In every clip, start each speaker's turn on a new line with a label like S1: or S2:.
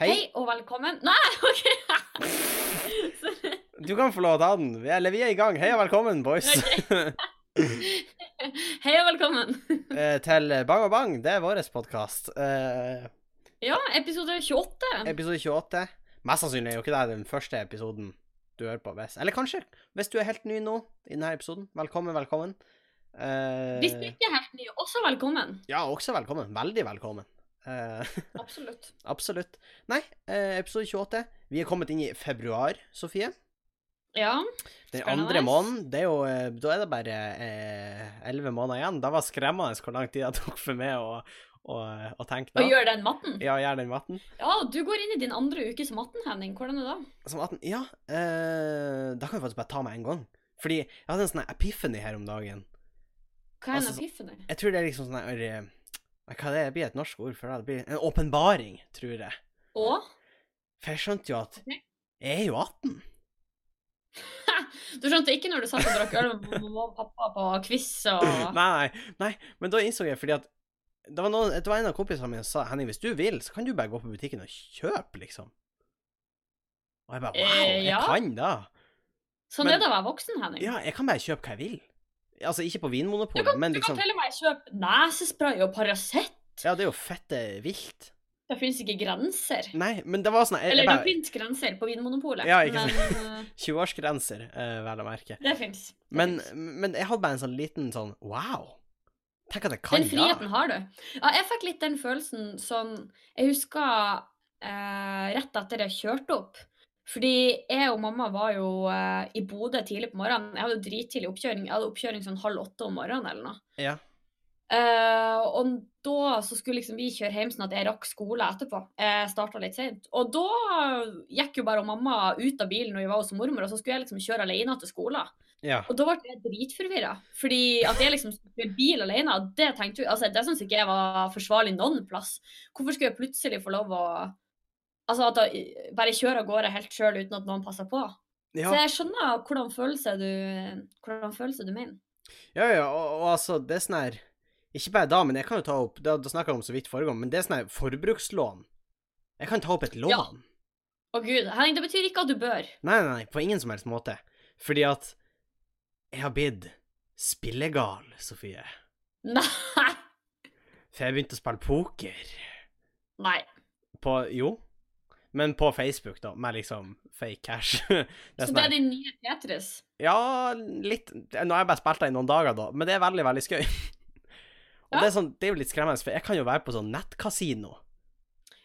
S1: Hei.
S2: Hei og velkommen Nei, OK! Så-
S1: Du kan få lov til å ta den. Vi- Eller vi er i gang. Hei og velkommen, boys.
S2: Hei og velkommen.
S1: Eh, til Bang og Bang. Det er vår podkast. Eh,
S2: Ja, episode 28.
S1: episode 28. Mest sannsynlig er jo ikke det den første episoden du hører på. Hvis. Eller kanskje, hvis du er helt ny nå i denne episoden. Velkommen, velkommen. Eh,
S2: Hvis du ikke er helt ny, også velkommen.
S1: ja, også velkommen. Veldig velkommen. Eh,
S2: Absolutt.
S1: absolutt. Nei, eh, episode 28. Vi er kommet inn i februar, Sofie.
S2: Ja.
S1: Den
S2: Spennende.
S1: andre måneden, det er jo, eh, da er det bare eh, elleve måneder igjen. Da var skremmende hvor lang tid det tok for meg å, å, å tenke
S2: Og
S1: da.
S2: gjør den matten.
S1: Ja, gjør den matten.
S2: Ja, du går inn i din andre uke som matten, Henning. Hvordan er det da?
S1: Som 18, ja, eh, da kan vi faktisk bare ta med en gang. Fordi jeg hadde en sånn her epiphany her om dagen.
S2: Hva er
S1: Altså,
S2: en epiphany?
S1: Jeg tror det er liksom sånn her eh, Hva er det? det blir et norsk ord for det? det blir en åpenbaring, tror jeg.
S2: Og?
S1: For jeg skjønte jo at
S2: Ok.
S1: jeg er jo 18.
S2: Du skjønte ikke når du satt og drakk øl med mamma og pappa på quiz og
S1: Nei, nei, nei, men da innså jeg fordi at det var, noen, det var en av kompisene mine som sa Henning, hvis du vil, så kan du bare gå på butikken og kjøpe, liksom. Og jeg bare wow,
S2: Eh,
S1: jeg
S2: ja.
S1: kan da.
S2: Sånn
S1: Men-
S2: er det å være voksen, Henning.
S1: Ja, jeg kan bare kjøpe hva jeg vil. Altså ikke på
S2: Du
S1: Vinmonopolet,
S2: kan,
S1: men
S2: du kan
S1: liksom
S2: til og med kjøpe nesespray og Paracet.
S1: Ja, det er jo fette vilt.
S2: Det fins ikke grenser.
S1: Nei, men det var sånn jeg, jeg
S2: Eller det
S1: bare,
S2: fins grenser på Vinmonopolet,
S1: Ja, ikke
S2: men eh,
S1: 20-årsgrenser, eh, vel å merke.
S2: det fins.
S1: Men, men jeg hadde bare en sånn liten sånn wow. Tenk at jeg kan
S2: Den
S1: da.
S2: friheten har du. Ja, jeg fikk litt den følelsen sånn Jeg husker eh, rett etter jeg kjørte opp. Fordi jeg og mamma var jo eh, i Bodø tidlig på morgenen. Jeg hadde jo drittidlig oppkjøring. Jeg hadde oppkjøring sånn halv åtte om morgenen eller noe.
S1: Ja.
S2: Eh, og da så skulle liksom vi kjøre hjem sånn at jeg rakk skole etterpå. Jeg starta litt seint. Og da gikk jo bare mamma ut av bilen når vi var hos mormor, og så skulle jeg liksom kjøre alene til skolen.
S1: Ja.
S2: Og da ble jeg dritforvirra. Fordi at jeg liksom skulle kjøre bil alene, det tenkte jo, altså, det syns ikke jeg var forsvarlig noen plass. Hvorfor skulle jeg plutselig få lov å Altså at jeg bare kjøre av gårde helt sjøl uten at noen passer på.
S1: ja.
S2: Så jeg skjønner hvordan følelse du, hvordan følelse du mener.
S1: Ja, ja, og, og altså, det er sånn her Ikke bare da, men jeg kan jo ta opp Da, da snakka jeg om så vidt forrige gang, men det er sånn her forbrukslån. Jeg kan ta opp et lån.
S2: Ja. Å gud, Henning, det betyr ikke at du bør.
S1: Nei, nei, nei, på ingen som helst måte. Fordi at jeg har blitt spillegal, Sofie.
S2: Nei.
S1: For jeg begynte å spille poker
S2: Nei.
S1: på Jo, men på Facebook, da, med liksom fake cash. det er
S2: Så
S1: sånn
S2: det
S1: her,
S2: er din nye Tetris?
S1: Ja, litt Nå har jeg bare spilt det i noen dager, da, men det er veldig, veldig skøy. Og
S2: Ja.
S1: det, er sånn, det er jo litt skremmende, for jeg kan jo være på sånn nettkasino.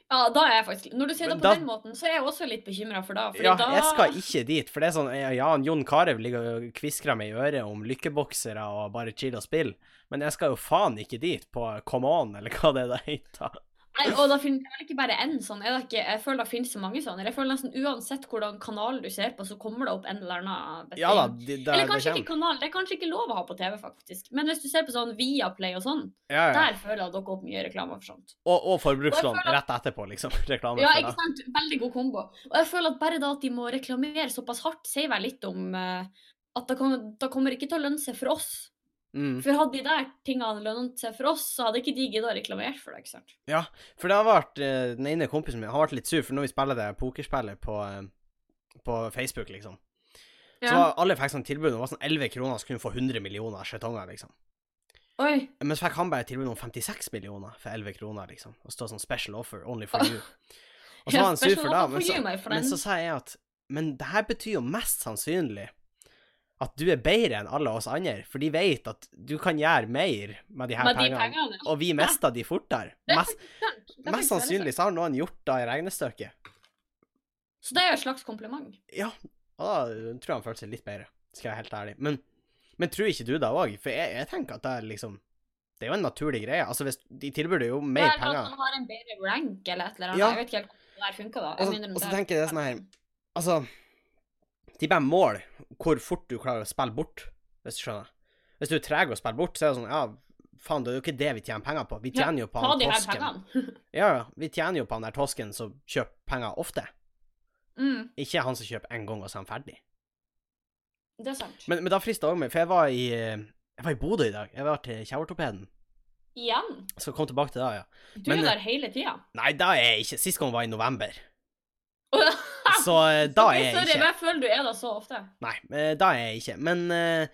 S2: Ja, da er jeg faktisk Når du sier det
S1: Men
S2: på
S1: da-
S2: den måten, så er jeg også litt bekymra for det. Fordi
S1: Ja,
S2: da
S1: jeg skal ikke dit, for det er sånn ja, ja, Jon Carew ligger og kviskrer meg i øret om lykkeboksere og bare chill og spill, men jeg skal jo faen ikke dit på Come On, eller hva det er det heter.
S2: Nei, og da finner det vel ikke bare én sånn. Er det ikke, jeg føler det finnes så mange sånne. Jeg føler nesten uansett hvordan kanal du ser på, så kommer det opp en eller annen betting.
S1: Ja da, det, det,
S2: eller
S1: det
S2: kanskje ikke
S1: kommer.
S2: kanal, det er kanskje ikke lov å ha på TV, faktisk. Men hvis du ser på sånn Viaplay og sånn,
S1: Ja, ja.
S2: der føler jeg at dere opp mye reklame for sånt.
S1: Og, og forbrukslån
S2: Og jeg føler
S1: rett etterpå, liksom. Reklame
S2: Ja,
S1: for
S2: ikke
S1: det.
S2: sant? Veldig god kombo. Og jeg føler at bare da at de må reklamere såpass hardt, sier vel litt om eh, at det, kan, det kommer ikke til å lønne seg for oss.
S1: Mm.
S2: For hadde de der tingene lønt seg for oss, så hadde ikke de giddet å reklamere for det, ikke sant.
S1: For det har vært eh, Den ene kompisen min har vært litt sur, for når vi spiller det pokerspillet på, eh, på Facebook, liksom, så
S2: Ja.
S1: alle fikk sånn tilbud, og det var sånn 11 kroner, så kunne du få 100 millioner skjetonger, liksom.
S2: Oi.
S1: Men så fikk han bare tilbud om 56 millioner for 11 kroner, liksom. Og stå sånn special offer, only for you. Og så
S2: Ja,
S1: var han sur
S2: special
S1: for det,
S2: offer
S1: men
S2: for
S1: så,
S2: you, my friend.
S1: men så sa jeg at Men det her betyr jo mest sannsynlig at du er bedre enn alle oss andre, for de vet at du kan gjøre mer med de her
S2: Med de
S1: pengene,
S2: pengene.
S1: og vi mister de fortere.
S2: Det er
S1: Mest,
S2: faktisk sant. Det er
S1: mest
S2: faktisk veldig sant.
S1: sannsynlig så har noen gjort det i regnestykket.
S2: Så det er jo et slags kompliment.
S1: Ja, og da eh, tror jeg han følte seg litt bedre, skal jeg være helt ærlig. Men, men tror ikke du det òg? For jeg, jeg tenker at det er liksom Det er jo en naturlig greie. Altså, hvis de tilbyr deg jo
S2: Det
S1: mer
S2: er at
S1: penger.
S2: man har en bedre rank eller et eller annet.
S1: Ja.
S2: Jeg vet ikke helt hvordan det der funker, da.
S1: Og
S2: Jeg
S1: så-
S2: mener,
S1: og så
S2: det er-
S1: tenker jeg sånn her- Altså, de bare måler hvor fort du klarer å spille bort, hvis du skjønner. Hvis du er treg å spille bort, så er det sånn Ja, faen, det er jo ikke det vi tjener penger på. Vi
S2: Ja,
S1: tjener jo på
S2: Ta
S1: han
S2: de her
S1: tosken.
S2: pengene.
S1: Ja, ja. Vi tjener jo på han der tosken som kjøper penger ofte.
S2: Mm,
S1: Ikke han som kjøper en gang, og så er han ferdig.
S2: det er sant.
S1: Men, men da frister det òg meg, for jeg var i Jeg var i Bodø i dag. Jeg var til Kjevertorpeden.
S2: Igjen?
S1: Skal komme tilbake til det, ja.
S2: Du
S1: Men- eh,
S2: er der hele tida.
S1: Nei, da er jeg ikke. Sist gang var i november. Så eh, da er jeg
S2: Sorry,
S1: ikke.
S2: men jeg føler du er der så ofte.
S1: Nei, eh, da er jeg ikke. Men eh,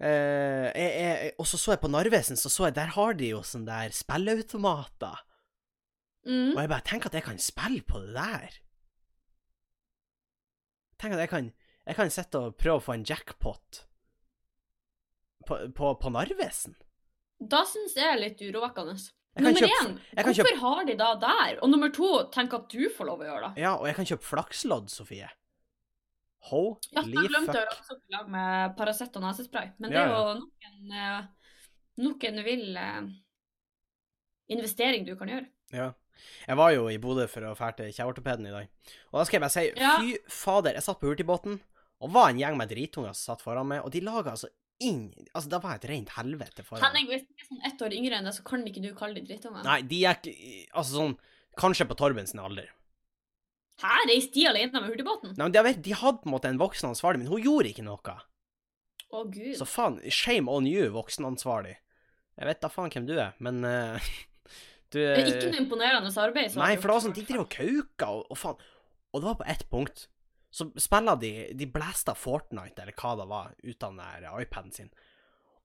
S1: eh, jeg, jeg, Og så så jeg på Narvesen, så så jeg der har de jo sånne der spilleautomater.
S2: Mm.
S1: Og jeg bare tenker at jeg kan spille på det der. Tenk at jeg kan Jeg kan sitte og prøve å få en jackpot på, på, på Narvesen.
S2: Da syns jeg er litt urovekkende.
S1: Jeg kan
S2: Nummer
S1: kjøpe-
S2: én,
S1: jeg kan
S2: hvorfor har de da der? Og nummer to, tenk at du får lov å gjøre det.
S1: Ja, og jeg kan kjøpe flakslodd, Sofie. Holy
S2: Ja, jeg glemte å
S1: fuck.
S2: ramse opp i lag med Paracet og nesespray, men det
S1: Ja,
S2: er
S1: ja.
S2: jo nok en, eh, nok en vill eh, investering du kan gjøre.
S1: Ja. Jeg var jo i Bodø for å fære til kjeveortopeden i dag. Og da skal jeg bare si,
S2: Ja.
S1: fy fader, jeg satt på hurtigbåten, og var en gjeng med dritunger som satt foran meg, og de laga altså inn... Altså, det var et rent helvete foran meg.
S2: Henning, hvis du er sånn ett år yngre enn deg, så kan ikke du kalle de drittunger.
S1: Nei, de er ikke Altså sånn Kanskje på Torben sin alder.
S2: Her reiste de alene med hurtigbåten? Å,
S1: Nei, men de, har vært- de hadde på en måte en voksenansvarlig, men hun gjorde ikke noe.
S2: gud.
S1: Så faen, shame on you, voksenansvarlig. Jeg vet da faen hvem du er, men eh, Du
S2: Det er ikke noe imponerende arbeid. så har
S1: Nei,
S2: du
S1: for det var
S2: gjort.
S1: sånn, de drev og kauka, og, og faen. Og det var på ett punkt. Så spiller de De blæsta Fortnite, eller hva det var, ut av den der iPaden sin.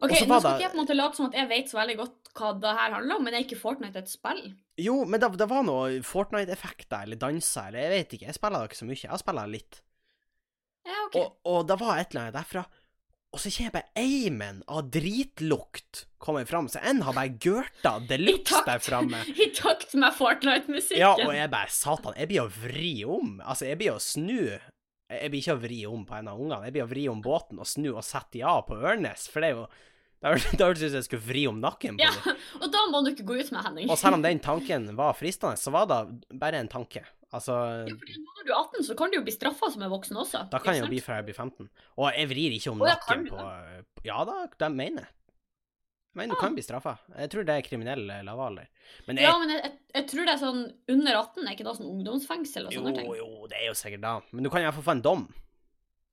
S2: Ok,
S1: Og så
S2: Nå
S1: var
S2: skal
S1: det-
S2: ikke jeg på en måte late som at jeg vet så veldig godt hva det her handler om, men er ikke Fortnite et spill?
S1: Jo, men det, det var noe Fortnite-effekter, eller danser, eller jeg vet ikke. Jeg spiller det ikke så mye. Jeg spiller litt.
S2: Ja, ok.
S1: Og, og det var et eller annet derfra. Og så kjenner jeg bare eimen av dritlukt kommer fram. Så en har bare gørta de luxe
S2: takt.
S1: der framme.
S2: I takt med Fortnite-musikken.
S1: Ja, og jeg bare Satan, jeg blir å vri om. Altså, jeg blir å snu. Jeg- Jeg blir ikke å vri om på en av ungene. Jeg blir å vri om båten og snu og sette de av på Ørnes, for det er jo Da hørtes det hørtes ut som jeg skulle vri om nakken på
S2: Ja,
S1: dem.
S2: og da må du ikke gå ut med Henning.
S1: Og selv om den tanken var fristende, så var det bare en tanke. Altså
S2: Ja, fordi Når du er 18, så kan du jo bli straffa som en voksen også.
S1: Da kan jeg
S2: ikke
S1: jo bli
S2: sant?
S1: fra jeg blir 15. Og jeg vrir ikke om
S2: Å, ja,
S1: nakken
S2: kan du
S1: på Ja da, de mener jeg. Men du
S2: Ah.
S1: kan bli straffa. Jeg tror det er kriminell eh, lavalder. Men
S2: Ja,
S1: jeg,
S2: men jeg, jeg, jeg tror det er sånn under 18, er ikke det sånn ungdomsfengsel og sånne
S1: jo,
S2: ting?
S1: jo, det er jo sikkert da. Men du kan i hvert fall få en dom.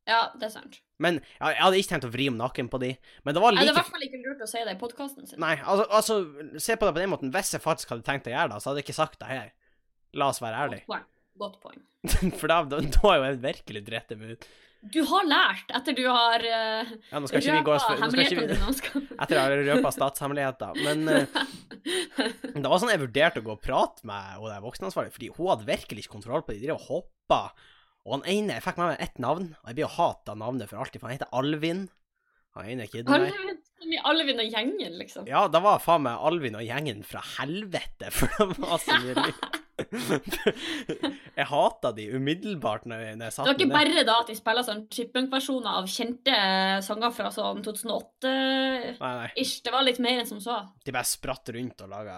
S2: Ja, det er sant.
S1: Men ja, jeg hadde ikke tenkt å vri om nakken på de. Men det var
S2: Nei, det er i
S1: like
S2: hvert fall ikke lurt å si det i podkasten sin.
S1: Nei, altså, altså, se på det på den måten. Hvis jeg faktisk hadde tenkt å gjøre det, så hadde jeg ikke sagt det her. La oss være ærlige.
S2: Godt poeng. Godt poeng.
S1: For da, da, da er jo jeg virkelig drept dem ut.
S2: Du har lært etter du har uh,
S1: Ja, nå skal ikke vi gå oss
S2: røpa
S1: for nå skal ikke
S2: hemmelighetene
S1: vi,
S2: dine. og skal-
S1: Etter å ha røpa statshemmeligheter. Men eh, Men Det var sånn jeg vurderte å gå og prate med hun der voksenansvarlige, fordi hun hadde virkelig ikke kontroll på det. De drev og hoppa. Og han ene Jeg fikk med meg ett navn, og jeg blir jo hata navnet for alltid, for han heter Alvin. Han ene kiden der.
S2: Alvin, som i Alvin og gjengen, liksom.
S1: Ja, det var faen meg Alvin og gjengen fra helvete, for det var så mye likt. Jeg hata de umiddelbart når jeg, når jeg
S2: Det
S1: satt
S2: var ikke
S1: med det.
S2: bare da at de spiller sånn chipmunk-versjoner av kjente sanger fra sånn 2008-ish.
S1: Nei, nei.
S2: Det var litt mer enn som så.
S1: De bare spratt rundt og laga,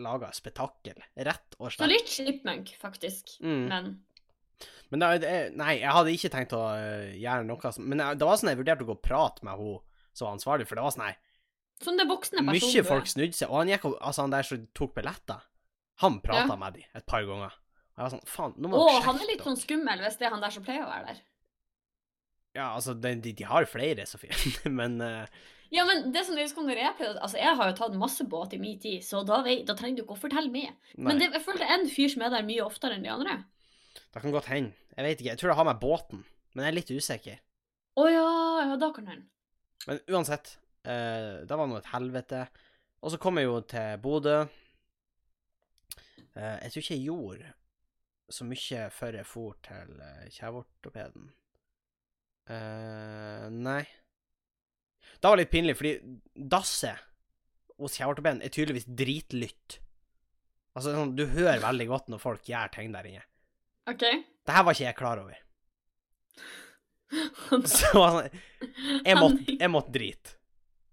S1: laga spetakkel. Rett og
S2: Så
S1: slett.
S2: litt chipmunk, faktisk.
S1: Mm.
S2: Men
S1: Men da, det- nei, jeg hadde ikke tenkt å øh, gjøre noe som Men jeg, det var sånn jeg vurderte å gå og prate med hun som var ansvarlig, for det var sånn her
S2: som det voksne personen
S1: Mye folk snudde seg, og han gikk og Altså, han der som tok billetter, han prata
S2: Ja.
S1: med de et par ganger. Og jeg var sånn Faen, nå
S2: Å,
S1: må dere
S2: han
S1: skjerpe
S2: er litt
S1: dere.
S2: sånn skummel hvis det er han der som pleier å være der.
S1: Ja, altså, de, de, de har jo flere, Sofie, men øh,
S2: Ja, men det som jeg husker når jeg pleide Altså, jeg har jo tatt masse båt i min tid, så da, vet, da trenger du ikke å fortelle meg.
S1: Nei,
S2: Men
S1: det...
S2: det, jeg føler det er en fyr som er der mye oftere enn de andre.
S1: kan godt hende. Jeg vet ikke. Jeg tror det har med båten, men jeg er litt usikker.
S2: Å ja, ja, da kan han.
S1: Men uansett, eh, det var nå et helvete. Og så kom jeg jo til Bodø. Eh, jeg tror ikke jeg gjorde så mye før jeg for til eh, kjeveortopeden. Eh, nei. Det var litt pinlig, fordi dasset hos kjeveortopeden er tydeligvis dritlytt. Altså, det er sånn, du hører veldig godt når folk gjør ting der inne.
S2: OK.
S1: Det her var ikke jeg klar over. Så det var sånn, jeg måtte, jeg måtte drite.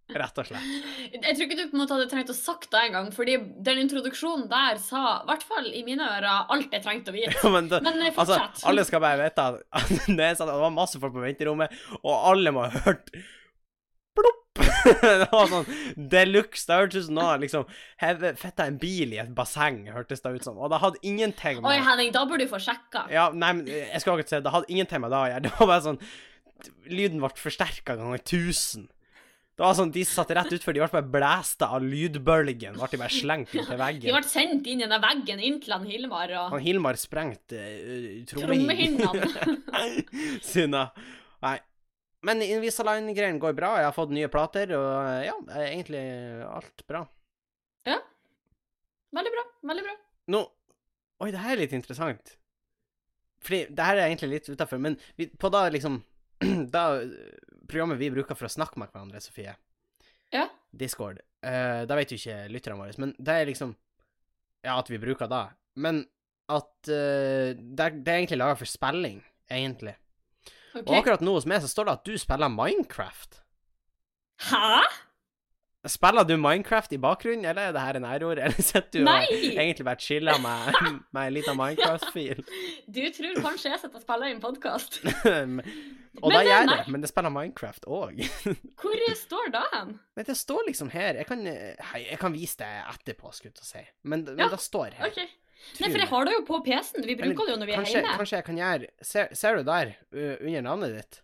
S1: Rett og slett.
S2: Jeg tror ikke du på en måte hadde trengt å sagt det engang, fordi den introduksjonen der sa, i hvert fall i mine ører, alt jeg trengte å vite.
S1: Ja, men det,
S2: Men eh,
S1: altså,
S2: fortsett.
S1: alle skal bare vite at, at når jeg satt- det var masse folk på venterommet, og alle må ha hørt plopp. det var sånn deluxe. Det hørtes ut som noen hadde liksom heve- fetta en bil i et basseng, hørtes det ut som. Og det hadde ingenting
S2: Oi,
S1: med
S2: Henning, da burde du få sjekka.
S1: Ja, nei, men eh, jeg skal akkurat si det, det hadde ingenting med det å gjøre. Det var bare sånn Lyden ble forsterka ganger 1000. Det var sånn, De satt rett utfor, de ble bare blæsta av lydbølgen. Ble de bare slengt inn til
S2: De ble
S1: veggen.
S2: sendt inn gjennom veggen inn til han Hilmar og
S1: Han Hilmar sprengte uh, trommehinnen
S2: trommehinnene.
S1: sine. Nei. Men Invisalign-greien går bra. Jeg har fått nye plater, og eh, ja, eh, egentlig alt bra.
S2: Veldig bra. Veldig bra.
S1: Nå Oi, det her er litt interessant. Fordi det her er egentlig litt utafor, men vi, på da liksom Da programmet vi bruker for å snakke med hverandre, Sofie,
S2: Ja.
S1: Discord, eh, da vet jo ikke lytterne våre, men det er liksom Ja, at vi bruker da, men at eh, det, er, det er egentlig laga for spilling, egentlig.
S2: OK.
S1: Og akkurat nå hos meg så står det at du spiller Minecraft.
S2: Hæ?
S1: Spiller du Minecraft i bakgrunnen, eller er det her en nærord, eller sitter du og
S2: Nei!
S1: egentlig bare chiller med, med en liten Minecraft-fil?
S2: Du tror kanskje jeg sitter og spiller inn podkast?
S1: Um, og
S2: Men
S1: da
S2: det-
S1: gjør
S2: nei.
S1: det, men det spiller Minecraft òg.
S2: Hvor står da hen?
S1: Men det står liksom her Jeg kan, hei, jeg kan vise det etterpå, skulle jeg til å si. Men, men
S2: Ja,
S1: det står her.
S2: OK.
S1: Tror
S2: Nei, for jeg
S1: meg.
S2: har det jo på PC-en. Vi
S1: Eller
S2: bruker det jo når vi er
S1: kanskje,
S2: hjemme.
S1: kanskje jeg kan gjøre Ser, ser du der, u- under navnet ditt?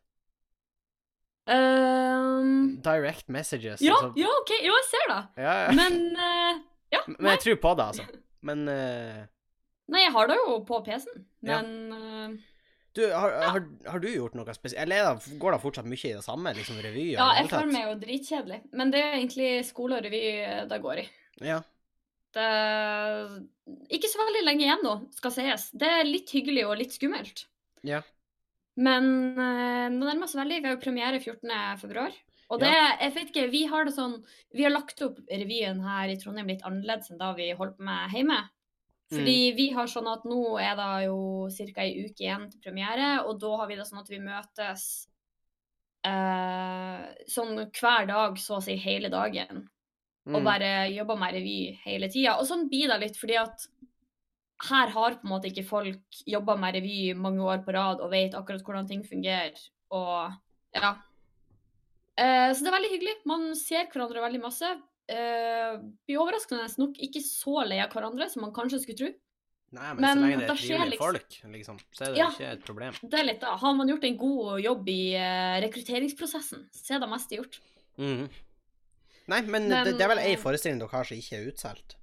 S2: Ehm,
S1: Direct messages.
S2: ja,
S1: altså.
S2: ja, OK. Jo, jeg ser det.
S1: Ja, ja.
S2: Men eh, ja.
S1: Men
S2: Nei.
S1: jeg tror på det, altså. Men eh,
S2: nei, jeg har det jo på PC-en.
S1: Ja.
S2: Men eh,
S1: du, har, har, har du gjort noe spesielt? Eller er det, går det fortsatt mye i det samme? Liksom revy? og
S2: ja,
S1: det hele
S2: jeg føler
S1: tatt?
S2: meg jo dritkjedelig. Men det er egentlig skole og revy eh, det går i.
S1: Ja.
S2: Det eh, ikke så veldig lenge igjen nå, skal sies. Det er litt hyggelig og litt skummelt.
S1: Ja.
S2: Men eh, nå nærmer vi oss veldig. Vi har jo premiere 14.2. Og det, jeg vet ikke, vi har det sånn Vi har lagt opp revyen her i Trondheim litt annerledes enn da vi holdt på med hjemme. Fordi vi har sånn at nå er det jo ca. ei uke igjen til premiere, og da har vi det sånn at vi møtes eh, sånn hver dag, så å si hele dagen og
S1: Mm.
S2: bare jobber med revy hele tida. Og sånn blir det litt fordi at her har på en måte ikke folk jobba med revy mange år på rad og vet akkurat hvordan ting fungerer. Og ja. Eh, så det er veldig hyggelig. Man ser hverandre veldig masse. Eh, blir overraskende nok ikke så lei av hverandre som man kanskje skulle tro.
S1: Nei, men,
S2: men
S1: så lenge det
S2: da
S1: er
S2: skjer
S1: trivelige
S2: liksom-
S1: folk, liksom, så er det
S2: Ja.
S1: ikke et problem.
S2: Det er litt da. Har man gjort en god jobb i eh, rekrutteringsprosessen, så er det meste gjort.
S1: Mhm. Nei, men,
S2: Men,
S1: det, det er vel ei
S2: eh,
S1: forestilling dere har som ikke er utsolgt?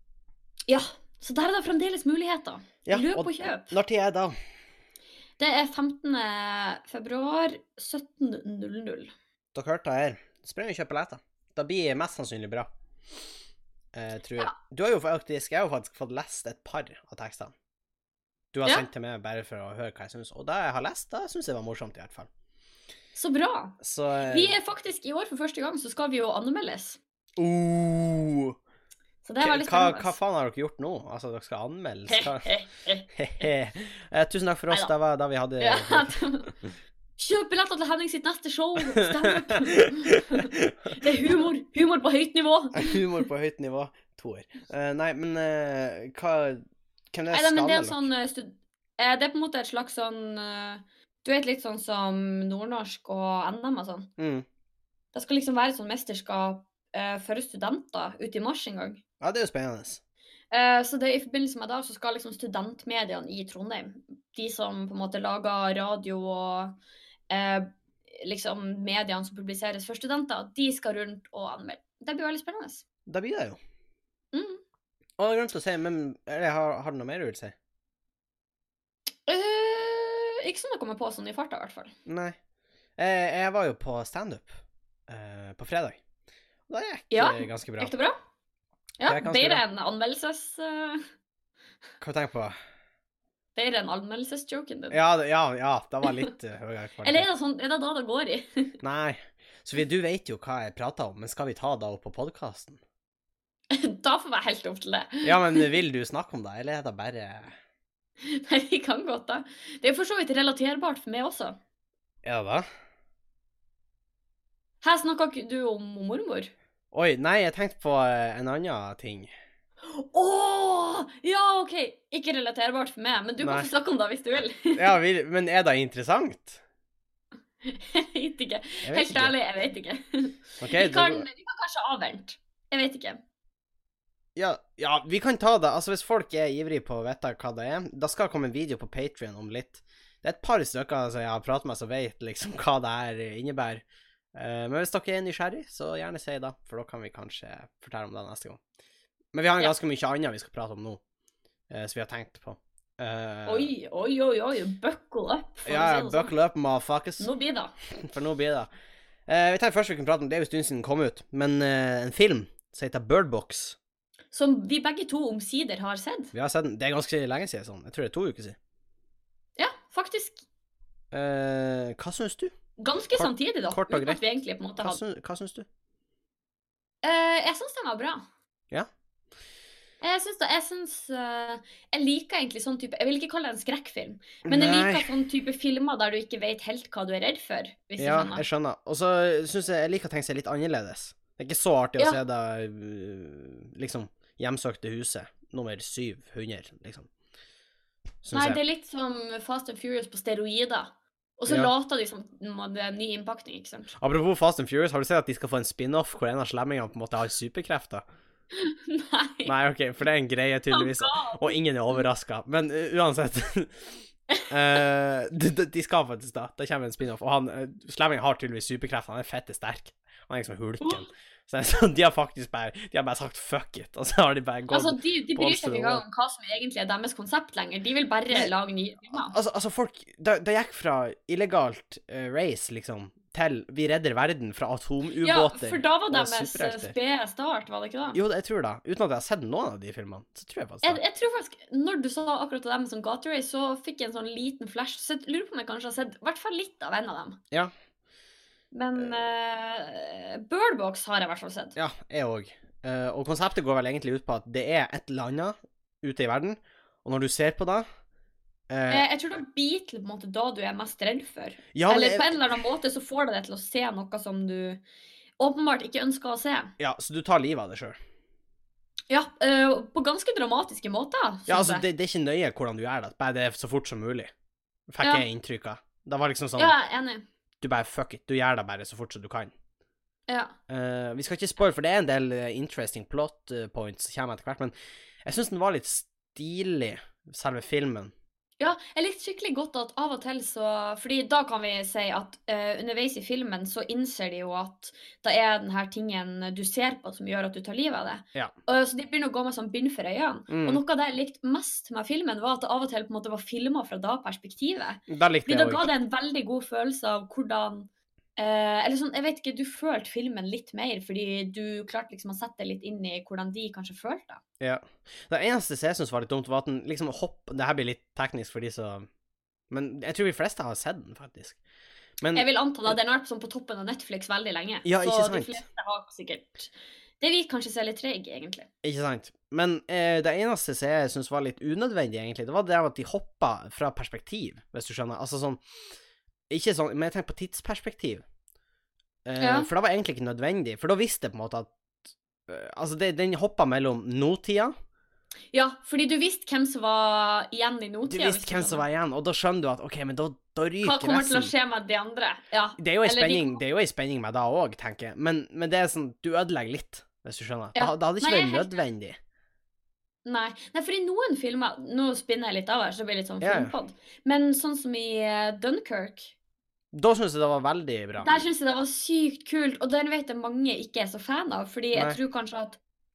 S2: Ja, så der er det fremdeles muligheter. Løp og kjøp.
S1: Når tid er det da?
S2: Det er 15. februar 17.00.
S1: Dere hørte det her. Spring og kjøp billetter. Det blir mest sannsynlig bra. Eh, tror jeg.
S2: Ja.
S1: Du har jo faktisk, jeg har jo faktisk fått lest et par av tekstene. Du har
S2: Ja.
S1: sendt til meg bare for å høre hva jeg syns, og det jeg har lest, det syns jeg var morsomt, i hvert fall.
S2: Så bra.
S1: Så eh,
S2: Vi er faktisk i år for første gang, så skal vi jo anmeldes.
S1: oh,
S2: Så det er veldig
S1: hva, hva
S2: spennende.
S1: faen har dere gjort nå? Altså, dere skal anmeldes? Hva?
S2: faen?
S1: Eh, tusen takk for oss,
S2: Neida.
S1: det var da vi hadde
S2: ja. Kjøp billetter til Henning sitt neste show! Stem opp! Det er humor! Humor på høyt nivå!
S1: Humor på høyt nivå. To år. Eh, nei, men eh, hva Hvem det er
S2: Nei, men det er
S1: Stanley?
S2: en sånn eh, stud... eh, Det er på en måte et slags sånn eh, Du vet litt sånn som nordnorsk og NM og sånn.
S1: Mm.
S2: Det skal liksom være et sånn mesterskap eh, for studenter ute i mars en gang.
S1: Ja, det er jo spennende.
S2: Eh, Så det er i forbindelse med det så skal liksom studentmediene i Trondheim, de som på en måte lager radio og eh, liksom mediene som publiseres for studenter, de skal rundt og anmelde. Det blir veldig spennende.
S1: Da blir det jo.
S2: Mm.
S1: Og jeg glemte å si, men eller, har, har du noe mer du vil si?
S2: Eh, ikke som det kommer på sånn i farta, i hvert fall.
S1: Nei. Eh, jeg var jo på standup eh, på fredag. Og det gikk
S2: Ja,
S1: eh, ganske bra.
S2: Gikk det bra?
S1: Det
S2: Ja,
S1: er ganske
S2: bedre
S1: bra.
S2: enn anmeldelses... eh,
S1: Hva tenker du på?
S2: bedre enn anmeldelsesjoken din.
S1: Ja, det- ja, ja, det var litt eh, høyere
S2: Eller
S1: kvalitet.
S2: er det, sånn, er det da det går i?
S1: Nei. Sofie, du vet jo hva jeg prater om, men skal vi ta det opp på podkasten?
S2: da får jeg helt opp til det.
S1: Ja, men vil du snakke om det, eller er det bare
S2: Nei, vi kan godt da. Det er for så vidt relaterbart for meg også.
S1: Ja da?
S2: Her snakka ikke du om mormor?
S1: Oi, nei, jeg tenkte på eh, en annen ting.
S2: Å! ja, OK! Ikke relaterbart for meg, men du
S1: Nei.
S2: kan få snakke om det hvis du vil.
S1: Ja, vi, men er det interessant?
S2: jeg vet ikke.
S1: Jeg
S2: Helt ærlig, jeg vet ikke.
S1: Ok,
S2: vi, kan,
S1: da,
S2: vi kan kanskje avvente. Jeg vet ikke.
S1: ja, ja, vi kan ta det. Altså, hvis folk er ivrige på å vite hva det er, da skal det komme en video på Patrion om litt. Det er et par stykker som jeg har pratet med som vet liksom hva det her innebærer. Eh, Men hvis dere er nysgjerrig, så gjerne si da, for da kan vi kanskje fortelle om det neste gang. Men vi har
S2: Ja.
S1: ganske mye annet vi skal prate om nå, eh, som vi har tenkt på. Eh,
S2: Oi, oi, oi, oi, buckle up. for å
S1: Ja,
S2: si det sånn.
S1: buckle up, motherfuckers,
S2: Nå blir det.
S1: for nå blir det Eh, Vi tenker først vi kan prate om det er jo en stund siden den kom ut, men eh, en film som heter Birdbox
S2: Som vi begge to omsider har sett.
S1: Vi har sett den, det er ganske lenge siden sånn, jeg tror det er to uker siden.
S2: Ja, faktisk.
S1: Eh, hva syns du?
S2: Ganske
S1: Kort-
S2: samtidig, da.
S1: kort og
S2: uten at
S1: greit.
S2: vi egentlig på en måte
S1: Hva
S2: hadde
S1: syns, hva syns du?
S2: Eh, Jeg syns den var bra.
S1: Ja.
S2: Jeg syns da Jeg syns eh, Jeg liker egentlig sånn type Jeg vil ikke kalle det en skrekkfilm, men jeg liker sånn type filmer der du ikke vet helt hva du er redd for, hvis
S1: Ja,
S2: du skjønner.
S1: jeg skjønner. Og så syns jeg jeg liker å tenke seg litt annerledes. Det er ikke så artig
S2: Ja.
S1: å se det øh, liksom hjemsøkte huset, nummer 700, liksom. Syns
S2: Nei,
S1: jeg.
S2: det er litt som Fast and Furious på steroider. Og så
S1: Ja.
S2: later de som om det er ny innpakning, ikke sant.
S1: Apropos Fast and Furious, har du sett at de skal få en spin-off hvor en av slemmingene på en måte har superkrefter?
S2: Nei.
S1: Nei, OK, for det er en greie, tydeligvis.
S2: Han
S1: Og ingen er overraska. Men øh, uansett Eh, de, de- de skal faktisk da. Det kommer en spin-off. Og han, eh, slemmingen har tydeligvis superkrefter. Han er fette sterk. Han er liksom hulken. Så, så de har faktisk bare De har bare sagt fuck it, og så har de bare gått
S2: Altså, de, de bryr
S1: Monster
S2: seg ikke
S1: Wall.
S2: engang om hva som egentlig er deres konsept lenger. De vil bare
S1: Nei.
S2: lage nye filmer.
S1: Altså, altså folk Det det gikk fra illegalt eh, race, liksom, til vi redder verden fra
S2: Ja,
S1: atomubåter.
S2: for da var
S1: og
S2: deres eh,
S1: superhelter.
S2: spede start, var det ikke det?
S1: Jo, jeg tror det. Uten at jeg har sett noen av de filmene, så tror jeg
S2: Jeg,
S1: faktisk det.
S2: jeg tror faktisk, Når du sa akkurat det der med sånn Gatorade, så fikk jeg en sånn liten flash. Så jeg lurer på om jeg kanskje har sett i hvert fall litt av en av dem.
S1: Ja. Eh.
S2: Men uh, Birdbox har jeg i hvert fall sett.
S1: Ja, jeg òg. og konseptet går vel egentlig ut på at det er et eller annet ute i verden, og når du ser på det eh,
S2: Eh, Jeg tror det biter til på en måte da du er mest redd for.
S1: ja, men
S2: eller
S1: jeg-
S2: på en eller annen måte så får det deg til å se noe som du åpenbart ikke ønsker å se.
S1: ja, så du tar livet av deg sjøl.
S2: Ja, eh, på ganske dramatiske måter.
S1: Ja,
S2: synes
S1: altså,
S2: jeg.
S1: det, det er ikke nøye hvordan du gjør det, bare det er så fort som mulig. Fikk
S2: Ja.
S1: jeg inntrykk av. Det var liksom sånn
S2: ja, jeg er enig.
S1: Du bare fuck it. Du gjør det bare så fort som du kan.
S2: Ja.
S1: Eh, vi skal ikke spoil, for det er en del eh, interesting plot eh, points som kommer etter hvert, men jeg syns den var litt stilig, selve filmen.
S2: Ja, jeg likte skikkelig godt at av og til så Fordi da kan vi si at eh, underveis i filmen så innser de jo at det er den her tingen du ser på som gjør at du tar livet av det.
S1: Ja.
S2: Og så de begynner å gå med sånn bind for øynene. Og
S1: Mm,
S2: noe av det jeg likte mest med filmen, var at det av og til på en måte var filma fra da perspektivet.
S1: da Mm, likte
S2: Fordi
S1: jeg
S2: da ga
S1: òg.
S2: det en veldig god følelse av hvordan eh, Eller sånn, jeg vet ikke, du følte filmen litt mer, fordi du klarte liksom å sette deg litt inn i hvordan de kanskje følte.
S1: Ja. Det eneste som jeg syns var litt dumt, var at den liksom hopp Det her blir litt teknisk for de som Men jeg tror de fleste har sett den, faktisk. Men
S2: Jeg vil anta da, den har vært sånn på toppen av Netflix veldig lenge.
S1: Mm. Ja,
S2: så
S1: ikke
S2: de
S1: sant.
S2: fleste har sikkert Det vil kanskje se litt treg, egentlig.
S1: Ikke sant. Men eh, det eneste som jeg syns var litt unødvendig, egentlig, det var det at de hoppa fra perspektiv, hvis du skjønner. Altså sånn Ikke sånn, men jeg tenker på tidsperspektiv. Eh,
S2: Ja.
S1: For det var egentlig ikke nødvendig, for da visste jeg på en måte at eh, Altså, det, den hoppa mellom nåtida
S2: Ja, fordi du visste hvem som var igjen i
S1: Du
S2: nåtida.
S1: visste hvem som var igjen, og da skjønner du at OK, men da, da
S2: Hva
S1: ryker
S2: kommer til å
S1: resten.
S2: skje med de andre? Ja.
S1: Det er jo ei
S2: Eller de-
S1: spenning, det er jo en spenning med det òg, tenker jeg. Men, men det er sånn Du ødelegger litt, hvis du skjønner.
S2: Ja.
S1: Det, det hadde ikke
S2: Nei, jeg
S1: vært
S2: er helt
S1: nødvendig.
S2: Nei. Nei, fordi noen filmer Nå spinner jeg litt av her, så det blir litt sånn
S1: Ja, ja.
S2: filmpod. Men sånn som i eh, Dunkirk
S1: Da syns jeg det var veldig bra.
S2: Der syns jeg det var sykt kult, og den vet jeg mange ikke er så fan av. Fordi
S1: Nei.
S2: jeg tror kanskje at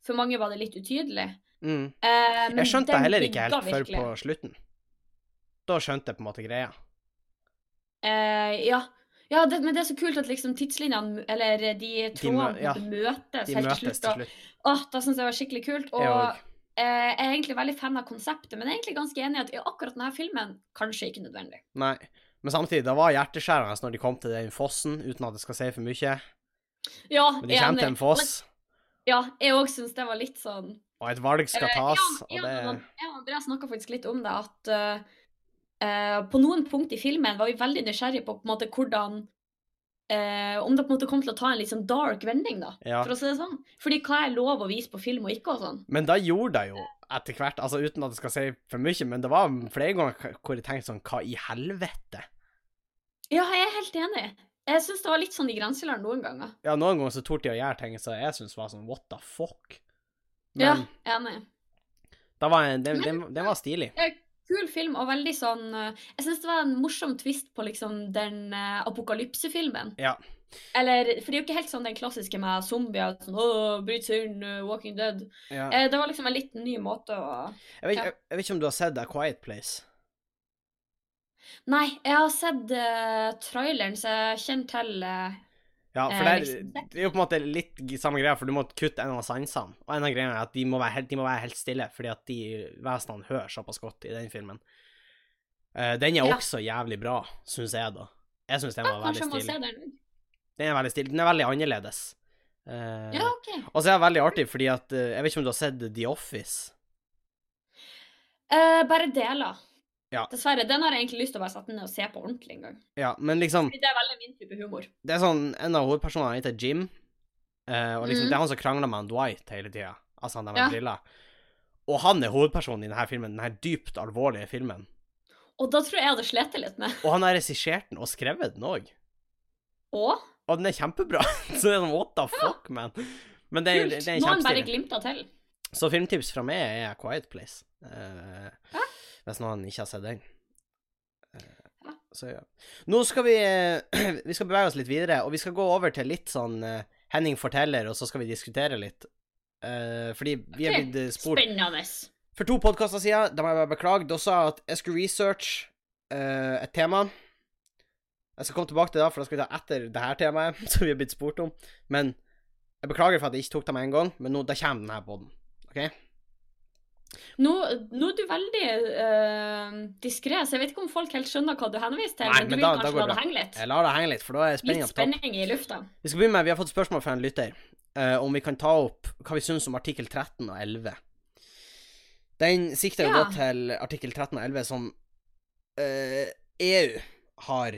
S2: for mange var det litt utydelig.
S1: Mm.
S2: Eh, men
S1: Jeg skjønte
S2: den
S1: heller ikke
S2: bygga
S1: helt før
S2: virkelig.
S1: på slutten. Da skjønte jeg på en måte greia.
S2: Eh, ja. ja det, men det er så kult at liksom tidslinjene, eller de trådene,
S1: ja.
S2: på en måte møtes
S1: De
S2: helt til
S1: møtes
S2: slutt. og-
S1: til slutt.
S2: Åh, da syns jeg det var skikkelig kult. Og
S1: Jeg
S2: jeg,
S1: òg.
S2: jeg er egentlig veldig fan av konseptet, men jeg er egentlig ganske enig i at i akkurat denne filmen kanskje ikke nødvendig.
S1: Nei. Men samtidig, det var hjerteskjærende når de kom til den fossen, uten at jeg skal si for mye.
S2: Ja,
S1: Men de
S2: jeg er
S1: kommer til
S2: enig.
S1: en foss,
S2: Ja, jeg òg syns det var litt sånn
S1: og et valg skal tas,
S2: Eh,
S1: og
S2: Jan, Jan,
S1: det
S2: og- Jan og Andreas snakka faktisk litt om det, at eh, eh, på noen punkt i filmen var vi veldig nysgjerrige på, på en måte, hvordan eh, Om det på en måte kom til å ta en litt sånn dark vending, da,
S1: Ja.
S2: for å si det sånn. Fordi hva er lov å vise på film og ikke, og sånn.
S1: Men da gjorde jeg jo etter hvert, altså uten at jeg skal si for mye, men det var flere ganger hvor jeg tenkte sånn, hva i helvete?
S2: Ja, jeg er helt enig. Jeg syns det var litt sånn i grenseland noen ganger.
S1: Ja, noen ganger så torde de å gjøre ting som jeg syns var sånn, what the fuck?
S2: Ja,
S1: Men
S2: enig.
S1: det var en, den, den, den var stilig.
S2: kul film, og veldig sånn eh, Jeg syns det var en morsom twist på liksom den eh, apokalypsefilmen.
S1: Ja.
S2: Eller, for det er jo ikke helt sånn den klassiske med zombier, sånn åh, bryt seg inn, eh, Walking Dead.
S1: Ja.
S2: Eh, det var liksom en litt ny måte å
S1: Jeg, vet,
S2: ja.
S1: jeg, jeg vet ikke om du har sett A Quiet Place?
S2: Nei, jeg har sett eh, traileren, så jeg kjenner til eh,
S1: Ja, for
S2: Eh,
S1: der,
S2: liksom.
S1: det er jo på en måte litt g- samme greia, for du må kutte en av sansene. Og en av greiene er at de må være helt, de må være helt stille, fordi at de vesenene hører såpass godt i den filmen. Eh, den er
S2: Ja.
S1: også jævlig bra, syns jeg, da. Jeg syns den
S2: ja,
S1: var
S2: Kanskje jeg må
S1: veldig
S2: se
S1: stille.
S2: den?
S1: Den er veldig stille. Den er veldig annerledes. Eh,
S2: Ja, OK.
S1: Og så er det veldig artig, fordi at eh, Jeg vet ikke om du har sett The Office?
S2: Eh, bare deler.
S1: Ja.
S2: Dessverre. Den har jeg egentlig lyst til å bare sette ned og se på ordentlig en gang.
S1: Ja, men liksom
S2: Fordi det er veldig min type humor.
S1: Det er sånn En av hovedpersonene heter Jim, eh, og liksom
S2: Mhm.
S1: det er han som krangler med han Dwight hele tida. Altså han der med
S2: Ja.
S1: briller. Og han er hovedpersonen i denne filmen, denne dypt alvorlige filmen.
S2: Og da tror jeg jeg hadde slitt litt med
S1: Og han har regissert den og skrevet den òg.
S2: Å?
S1: Og den er kjempebra. Så det er sånn what the fuck, man. Men det er,
S2: Kult!
S1: det er
S2: Noen bare
S1: kjempestilig.
S2: glimta til.
S1: Så filmtips fra meg er A Quiet Place. eh, Hvis noen ikke har sett den. Eh,
S2: Ja.
S1: Så ja. Nå skal vi eh, Vi skal bevege oss litt videre, og vi skal gå over til litt sånn eh, Henning forteller, og så skal vi diskutere litt. Eh, fordi vi er
S2: Ok.
S1: blitt eh, spurt
S2: Spennende.
S1: For to podkaster siden, da må jeg bare beklage, da sa jeg at jeg skulle researche eh, et tema. Jeg skal komme tilbake til det, for da skal vi ta etter det her temaet som vi har blitt spurt om. Men jeg beklager for at jeg ikke tok det med en gang, men nå, da kommer den her på den.
S2: Nå, nå er du veldig uh, diskré, så jeg vet ikke om folk helt skjønner hva du henviser til.
S1: Nei,
S2: men
S1: men
S2: du vil
S1: da- da
S2: kanskje
S1: går
S2: la
S1: det
S2: det henge litt?
S1: Jeg lar det henge litt, for da er
S2: Litt
S1: spenninga på topp.
S2: spenning i lufta.
S1: Vi skal begynne med, vi har fått spørsmål fra en lytter eh, om vi kan ta opp hva vi syns om artikkel 13 og 11. Den sikter jo
S2: Ja.
S1: da til artikkel 13 og 11 som eh, EU har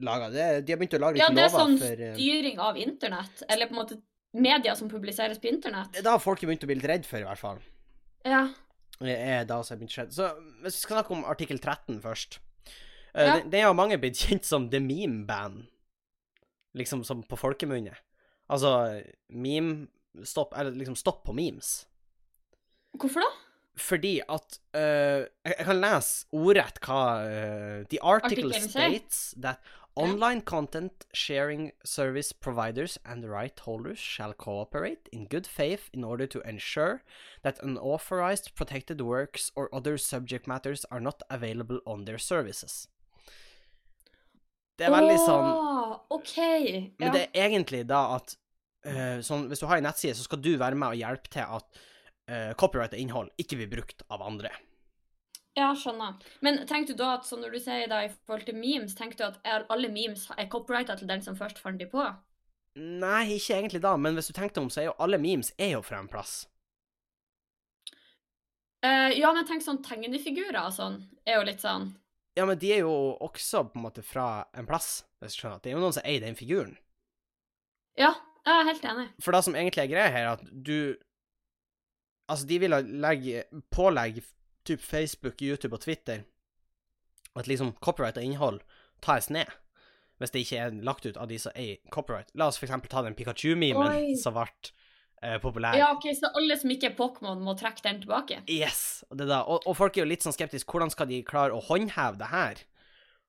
S1: laga. De har begynt å lage litt
S2: Ja, det er
S1: lover
S2: sånn
S1: for eh,
S2: styring av internett, eller på en måte media som publiseres på internett.
S1: Det er da folk har begynt å bli litt redd for, i hvert fall.
S2: Ja.
S1: Det er da som har begynt å skje. Så hvis vi skal snakke om artikkel 13 først Eh,
S2: Ja.
S1: det, det er jo mange blitt kjent som the meme band, liksom som på folkemunne. Altså meme Stopp, eller liksom stopp på memes.
S2: Hvorfor da?
S1: Fordi at eh, jeg, jeg kan lese ordrett hva eh, The article
S2: Artikkelen sier.
S1: states that online content sharing service providers and right holders shall cooperate in good faith in order to ensure that unauthorized protected works or other subject matters are not available on their services. Det er veldig sånn
S2: Åh, OK.
S1: men
S2: Ja.
S1: det er egentlig da at eh, sånn, Hvis du har en nettside, så skal du være med og hjelpe til at uh, copyrighta innhold ikke blir brukt av andre.
S2: ja, skjønner. Men tenker du da at sånn når du sier da i forhold til memes, tenker du at er alle memes er copyrighta til den som først fant de på?
S1: Nei, ikke egentlig da, men hvis du tenker deg om, så er jo alle memes er jo fra en plass.
S2: Eh, ja, men tenk sånn tegnefigurer og sånn er jo litt sånn
S1: Ja, men de er jo også på en måte fra en plass, hvis du skjønner. Det er jo noen som eier den figuren.
S2: Ja, jeg er helt enig.
S1: For det som egentlig er greia her, er at du Altså, de vil legge, pålegge typ Facebook, YouTube og Twitter at liksom copyright og innhold tas ned, hvis det ikke er lagt ut av de som eier copyright. La oss for eksempel ta den
S2: Oi.
S1: Pikachu-memen som ble eh, populær.
S2: Ja, OK, så alle som ikke er Pokémon, må trekke den tilbake?
S1: Yes, og det da. Og, og folk er jo litt sånn skeptiske. Hvordan skal de klare å håndheve det her?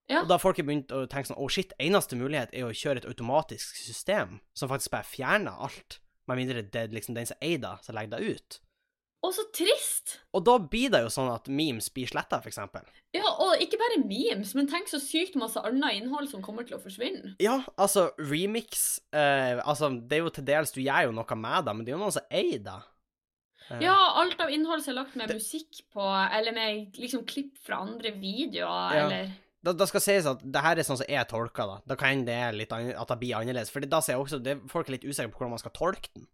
S2: Ja.
S1: Og da har folk begynt å tenke sånn Å, shit, eneste mulighet er å kjøre et automatisk system som faktisk bare fjerner alt, med mindre det er liksom den som eier det, som legger det ut.
S2: Å, så trist!
S1: Og da blir det jo sånn at memes blir sletta, for eksempel.
S2: Ja, og ikke bare memes, men tenk så sykt masse annet innhold som kommer til å forsvinne.
S1: Ja, altså, remix eh, Altså, det er jo til dels Du gjør jo noe med det, men det er jo noen som eier det. Eh,
S2: Ja, alt av innhold som er lagt med musikk på, eller med liksom klipp fra andre videoer,
S1: Ja.
S2: eller
S1: Da, da skal sies at det her er sånn som jeg tolker det. Da kan det litt an at det blir annerledes. For da ser jeg også det, Folk er litt usikre på hvordan man skal tolke den,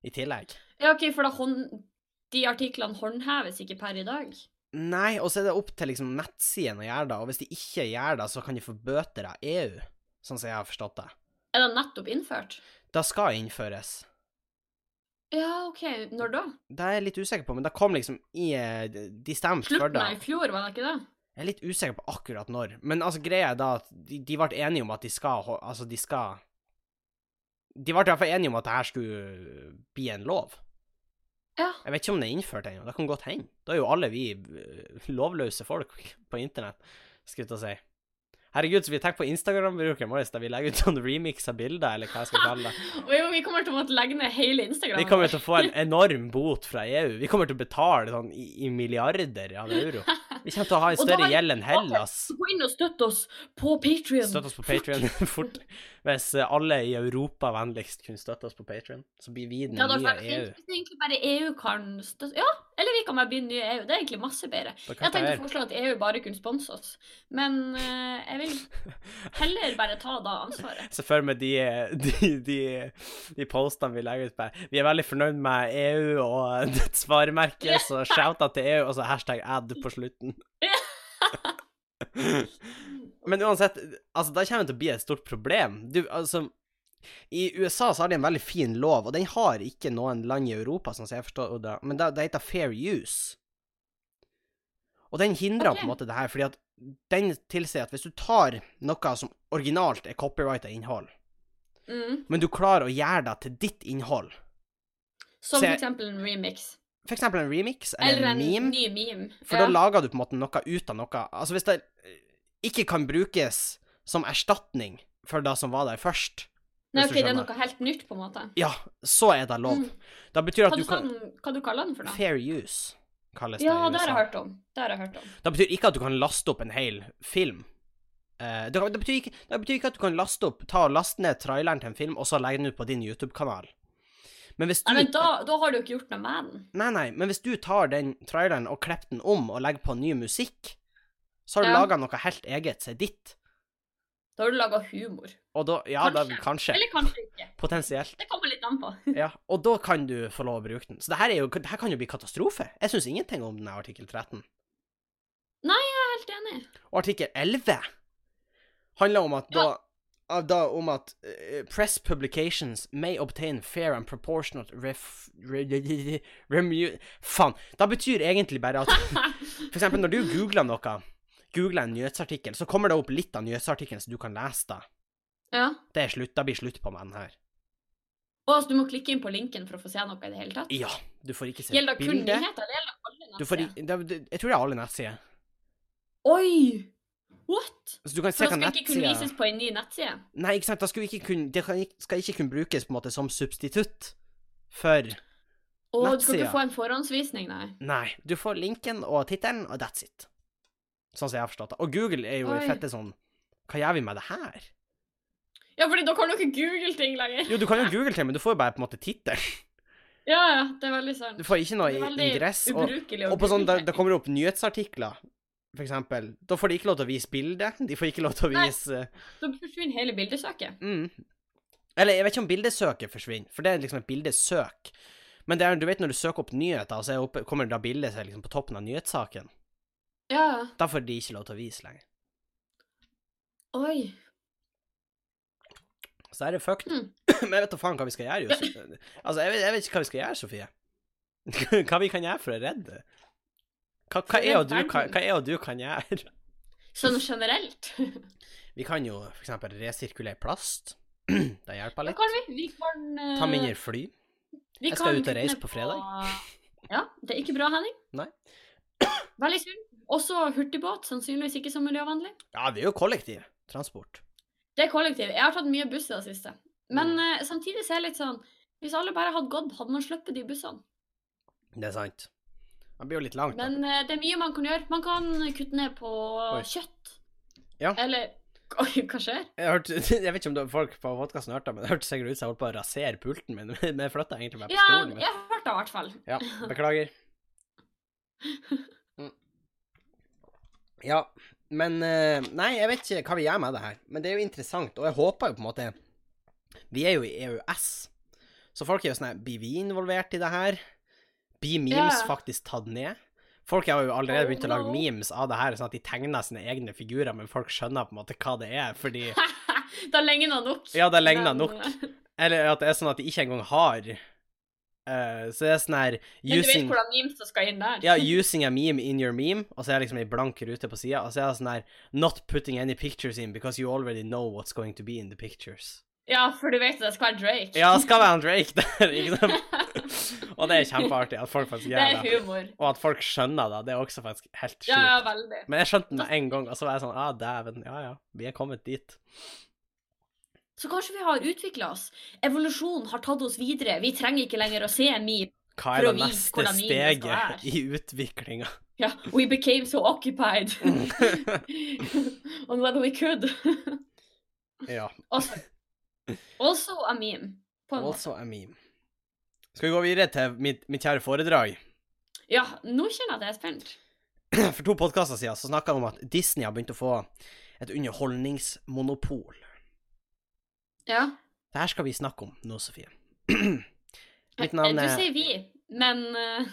S1: i tillegg.
S2: Ja, OK, for da hånd... de artiklene håndheves ikke per i dag.
S1: Nei, og så er det opp til liksom nettsiden å gjøre det, og hvis de ikke gjør det, så kan de få bøter av EU, sånn som jeg har forstått det.
S2: Er det nettopp innført?
S1: Det skal innføres.
S2: Ja, OK, når da?
S1: Det er jeg litt usikker på, men det kom liksom i eh, De stemte for
S2: Slutten
S1: det.
S2: av i fjor, var det ikke det?
S1: Jeg er litt usikker på akkurat når. Men altså, greia er da at de, de ble enige om at de skal ho- Altså, de skal De ble i hvert fall enige om at det her skulle bli en lov.
S2: Ja.
S1: Jeg vet ikke om det er innført ennå. Det kan godt hende. Da er jo alle vi øh, lovløse folk på internett, skulle jeg til å si. Herregud, så vi tenker på Instagram-brukeren vår der vi legger ut sånn remix av bilder, eller hva jeg skal kalle det.
S2: Og jo, vi kommer til å måtte legge ned hele Instagram.
S1: Vi kommer til å få en enorm bot fra EU. Vi kommer til å betale sånn i, i milliarder av euro. Vi kommer til å ha en
S2: Og da
S1: større
S2: er-
S1: gjeld enn Hellas.
S2: Gå inn og støtt oss på Patrion.
S1: Støtt oss på Patrion fort. Hvis eh, alle i Europa vennligst kunne støtte oss på Patrion, så blir vi den
S2: Det hadde
S1: nye E
S2: vært
S1: EU.
S2: fint hvis egentlig bare EU kan støtte Ja, eller vi kan bare bli den nye EU. Det er egentlig masse bedre.
S1: Da kan
S2: Jeg tenkte å
S1: jeg-
S2: foreslå at EU bare kunne sponse oss, men eh, jeg vil heller bare ta da ansvaret.
S1: Se for meg de, eh, de, de, de postene vi legger ut på her. Vi er veldig fornøyd med EU og dets varemerke, så shouta til EU, og så hashtag ad på slutten. Men uansett, altså, da kommer det til å bli et stort problem. Du, altså, I USA så har de en veldig fin lov, og den har ikke noen land i Europa, sånn som jeg forstår det, men det, det heter fair use. Og den hindrer
S2: Ok.
S1: på en måte det her, fordi at den tilsier at hvis du tar noe som originalt er copyrighta innhold,
S2: Mm.
S1: men du klarer å gjøre det til ditt innhold,
S2: Som
S1: Se-
S2: for eksempel en remix.
S1: for eksempel en remix eller,
S2: Eller en
S1: meme,
S2: ny meme.
S1: For da lager du på en måte noe ut av noe. Altså hvis det ikke kan brukes som erstatning for det som var der først,
S2: Nei,
S1: hvis du
S2: ok, det er
S1: skjønner.
S2: noe helt nytt, på en måte.
S1: ja, så er det lov.
S2: Mm.
S1: Da betyr at
S2: Hva du
S1: du kan
S2: sa den- hva du kaller den for, da?
S1: Fair use kalles det
S2: Ja,
S1: i
S2: det har jeg
S1: USA.
S2: hørt om. Det har jeg hørt om.
S1: Det betyr ikke at du kan laste opp en hel film. Eh, det, det, betyr ikke, det betyr ikke at du kan laste opp, ta og laste ned traileren til en film, og så legge den ut på din YouTube-kanal. Men hvis du
S2: Nei, men da, da har du jo ikke gjort noe med den.
S1: Nei, nei, men hvis du tar den traileren og klipper den om og legger på ny musikk, så har du
S2: Ja.
S1: laga noe helt eget som er ditt.
S2: Da har du laga humor.
S1: Og da Ja, da
S2: Kanskje.
S1: kanskje.
S2: Eller kanskje ikke.
S1: Potensielt.
S2: Det kommer litt an på.
S1: Ja. Og da kan du få lov å bruke den. Så det her, er jo, det her kan jo bli katastrofe. Jeg syns ingenting om den her artikkel 13.
S2: Jeg er helt enig.
S1: Og artikkel 11 handler om at da, av da om at eh, press publications may obtain fair and proportionate ref... Re, re, re, remu- Faen. Det betyr egentlig bare at For eksempel når du googler noe, googler en nyhetsartikkel, så kommer det opp litt av nyhetsartikkelen så du kan lese det.
S2: ja.
S1: Det er slutt, det blir slutt på med den her.
S2: Og altså, du må klikke inn på linken for å få se noe i det hele tatt?
S1: Ja, du får ikke se
S2: Gjelder det kun
S1: bildet.
S2: nyheter, eller gjelder det alle
S1: Du får,
S2: nettsider?
S1: i- det, det, jeg tror det er alle nettsider.
S2: Oi! What?
S1: Så du kan se
S2: For
S1: hva
S2: det skal ikke kunne
S1: nettsida
S2: vises på en ny nettside?
S1: Nei, ikke sant, det skal, ikke kunne, det kan, ikke- skal ikke kunne brukes på en måte som substitutt for
S2: Og du skal
S1: Nettsida.
S2: ikke få en forhåndsvisning, nei?
S1: Nei, du får linken og tittelen, og that's it. Sånn som jeg har forstått det. Og Google er jo i
S2: Oi.
S1: fette sånn Hva gjør vi med det her?
S2: Ja, fordi da kan du ikke google ting lenger.
S1: Jo, du kan jo google til, men du får jo bare på en måte tittelen.
S2: Ja, ja, det er veldig sant.
S1: Du får ikke noe
S2: Det er veldig
S1: ingress. Og
S2: ubrukelig å
S1: Og på sånn, da, da
S2: google ting.
S1: kommer det opp nyhetsartikler, for eksempel. Da får de ikke lov til å vise bildet. De får ikke lov til å
S2: Nei.
S1: vise eh,
S2: Da forsvinner hele bildesøket.
S1: mm. Eller jeg vet ikke om bildesøket forsvinner, for det er liksom et bildesøk. Men det er, du vet når du søker opp nyheter, så er oppe, kommer da bildet seg liksom på toppen av nyhetssaken.
S2: Ja, ja.
S1: Da får de ikke lov til å vise lenger.
S2: Oi.
S1: Så er det fucked.
S2: Mm.
S1: Men jeg vet da faen hva vi skal gjøre, Josef. Altså, jeg vet, jeg vet ikke hva vi skal gjøre, Sofie. hva vi kan gjøre for å redde? Hva, hva, jeg og du, kan- hva jeg og du kan gjøre?
S2: Sånn generelt.
S1: Vi kan jo for eksempel resirkulere plast. det hjelper
S2: Hva
S1: litt.
S2: kan vi? Vi kan eh,
S1: Ta mindre fly.
S2: vi
S1: Jeg skal
S2: kan
S1: ut og
S2: kutte
S1: reise
S2: ned
S1: på fredag.
S2: Ja, det er ikke bra, Henning.
S1: Nei.
S2: Veldig synd. Også hurtigbåt, sannsynligvis ikke så miljøvennlig.
S1: Ja, det er jo kollektiv transport.
S2: Det er kollektiv. Jeg har tatt mye buss i det siste. Men
S1: Mm.
S2: eh, samtidig så er jeg litt sånn Hvis alle bare hadde gått, hadde man sluppet de bussene.
S1: Det er sant. Det blir jo litt langt. da.
S2: Men eh, det er mye man kan gjøre. Man kan kutte ned på kjøtt.
S1: Ja. Eller...
S2: Eller Oi, hva skjer?
S1: Jeg, hørte, jeg vet ikke om det- folk på podkasten hørte det, men det hørtes sikkert ut som jeg holdt på å rasere pulten min. Men jeg flytta egentlig bare på
S2: Ja,
S1: stolen. min.
S2: jeg hørte det i hvert fall.
S1: Ja, beklager. Mm. Ja, men eh, Nei, jeg vet ikke hva vi gjør med det her, men det er jo interessant, og jeg håper jo på en måte Vi er jo i EØS, så folk er jo sånn her Blir vi involvert i det her? Blir memes
S2: Ja.
S1: faktisk tatt ned? Folk har jo allerede begynt å lage
S2: Oh, no.
S1: memes av det her, sånn at de tegner sine egne figurer, men folk skjønner på en måte hva det er, fordi
S2: da legner det nok.
S1: Ja, det ligner
S2: Men,
S1: nok.
S2: eh,
S1: Eller at det er sånn at de ikke engang har eh, Så det er sånn her
S2: Men du vet
S1: using-
S2: hvordan memes som skal inn der?
S1: Ja, 'using a meme in your meme', og så er det liksom ei blank rute på sida, og så er det sånn der 'not putting any pictures in because you already know what's going to be in the pictures'.
S2: Ja, for du vet at det skal være Drake.
S1: Ja, skal være han Drake der, ikke sant? Og det er kjempeartig at folk faktisk
S2: Det er
S1: gjør det.
S2: humor.
S1: Og at folk skjønner det, det er også faktisk helt sjukt.
S2: Ja, ja, veldig.
S1: Men jeg skjønte den med en gang, og så var jeg sånn Ja, ah, dæven. Ja, ja. Vi er kommet dit.
S2: Så kanskje vi har utvikla oss. Evolusjonen har tatt oss videre. Vi trenger ikke lenger å se en meme.
S1: Hva
S2: For
S1: er
S2: å
S1: det
S2: vise
S1: neste
S2: hvordan livet skal være.
S1: steget i utviklinga?
S2: Ja, we became so occupied on whether we could.
S1: ja.
S2: Also, also a meme. På en måte.
S1: Also a meme. Skal vi gå videre til mitt, mitt kjære foredrag?
S2: Ja, nå kjenner jeg at jeg er spent.
S1: For to podkaster siden så snakka vi om at Disney har begynt å få et underholdningsmonopol.
S2: Ja.
S1: Det her skal vi snakke om nå, Sofie. Mitt navn
S2: Eh, Du
S1: er
S2: sier vi, men eh,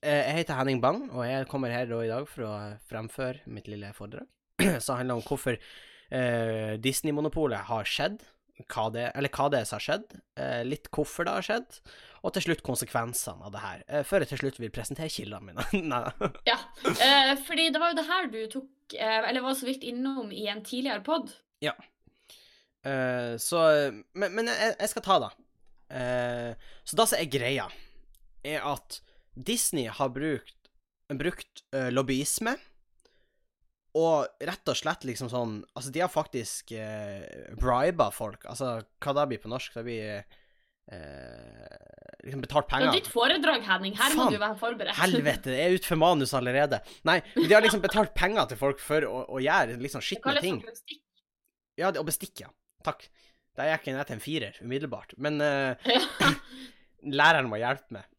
S1: Eh, Jeg heter Henning Bang, og jeg kommer her da i dag for å fremføre mitt lille foredrag. Som handler om hvorfor eh, Disney-monopolet har skjedd, hva det, eller hva det er som har skjedd, eh, litt hvorfor det har skjedd, og til slutt konsekvensene av det her. Eh, før jeg til slutt vil presentere kildene mine. Nei.
S2: ja. Eh, fordi det var jo det her du tok, eh, eller var så vidt innom i en tidligere pod.
S1: Eh, så Men, men jeg, jeg skal ta det. Eh, så det som er greia, er at Disney har brukt, brukt eh, lobbyisme og rett og slett liksom sånn Altså, de har faktisk uh, briba folk. Altså, hva det blir på norsk? Det blir eh, liksom betalt
S2: Det
S1: penger.
S2: er ditt foredrag, Henning. Her må
S1: Faen.
S2: du være forberedt.
S1: Helvete, jeg er utfor manus allerede. Nei, men de har liksom betalt penger til folk for å, å gjøre liksom
S2: Det
S1: skitne
S2: kalles
S1: ting.
S2: for plastikk.
S1: Ja, det- og bestikk, ja. Takk. Der gikk jeg ned til en firer umiddelbart. Men eh,
S2: Ja.
S1: læreren må hjelpe meg.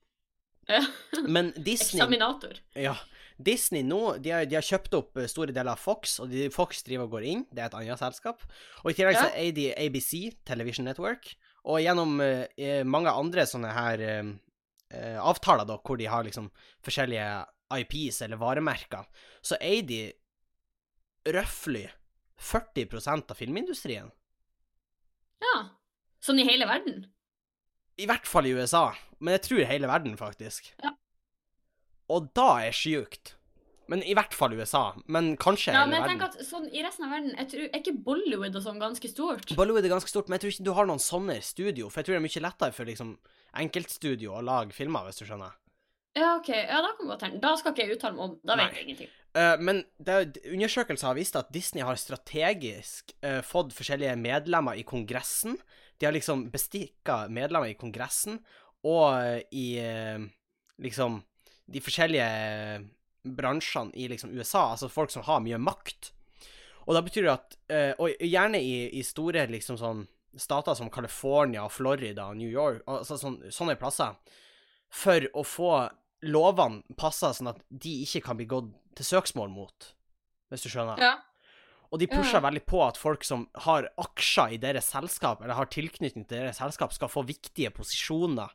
S2: Ja.
S1: Men Disney
S2: Eksaminator.
S1: ja, Disney nå, de har, de har kjøpt opp eh, store deler av Fox, og de, Fox driver og går inn. Det er et annet selskap. Og i tillegg så
S2: Ja.
S1: eier de ABC, Television Network, og gjennom eh, eh, mange andre sånne her eh, eh, avtaler, da, hvor de har liksom forskjellige IPs eller varemerker, så eier de røftlig 40 av filmindustrien.
S2: Ja. Sånn i hele verden.
S1: I hvert fall i USA, men jeg tror hele verden, faktisk.
S2: Ja.
S1: Og da er sjukt. Men i hvert fall USA, men kanskje
S2: Ja, men
S1: hele
S2: jeg
S1: verden.
S2: tenker at sånn i resten av verden jeg tror, Er ikke Bollywood og sånn ganske stort?
S1: Bollywood er ganske stort, men jeg tror ikke du har noen sånne studio, for jeg tror det er mye lettere for liksom enkeltstudio å lage filmer, hvis du skjønner.
S2: Ja, OK. Ja, da kan vi godt hende. Da skal ikke jeg uttale meg om. Da
S1: Nei.
S2: vet jeg ingenting.
S1: Eh, men det, er- undersøkelser har vist at Disney har strategisk eh, fått forskjellige medlemmer i Kongressen. De har liksom bestikka medlemmer i Kongressen og eh, i eh, liksom de forskjellige eh, bransjene i liksom USA, altså folk som har mye makt. Og da betyr det at eh, Og gjerne i, i store liksom sånn stater som California, Florida, New York, altså sånn, sånne plasser, for å få lovene passa sånn at de ikke kan bli gått til søksmål mot, hvis du skjønner.
S2: Ja.
S1: Og de
S2: Ja, ja.
S1: pusher veldig på at folk som har aksjer i deres selskap, eller har tilknytning til deres selskap, skal få viktige posisjoner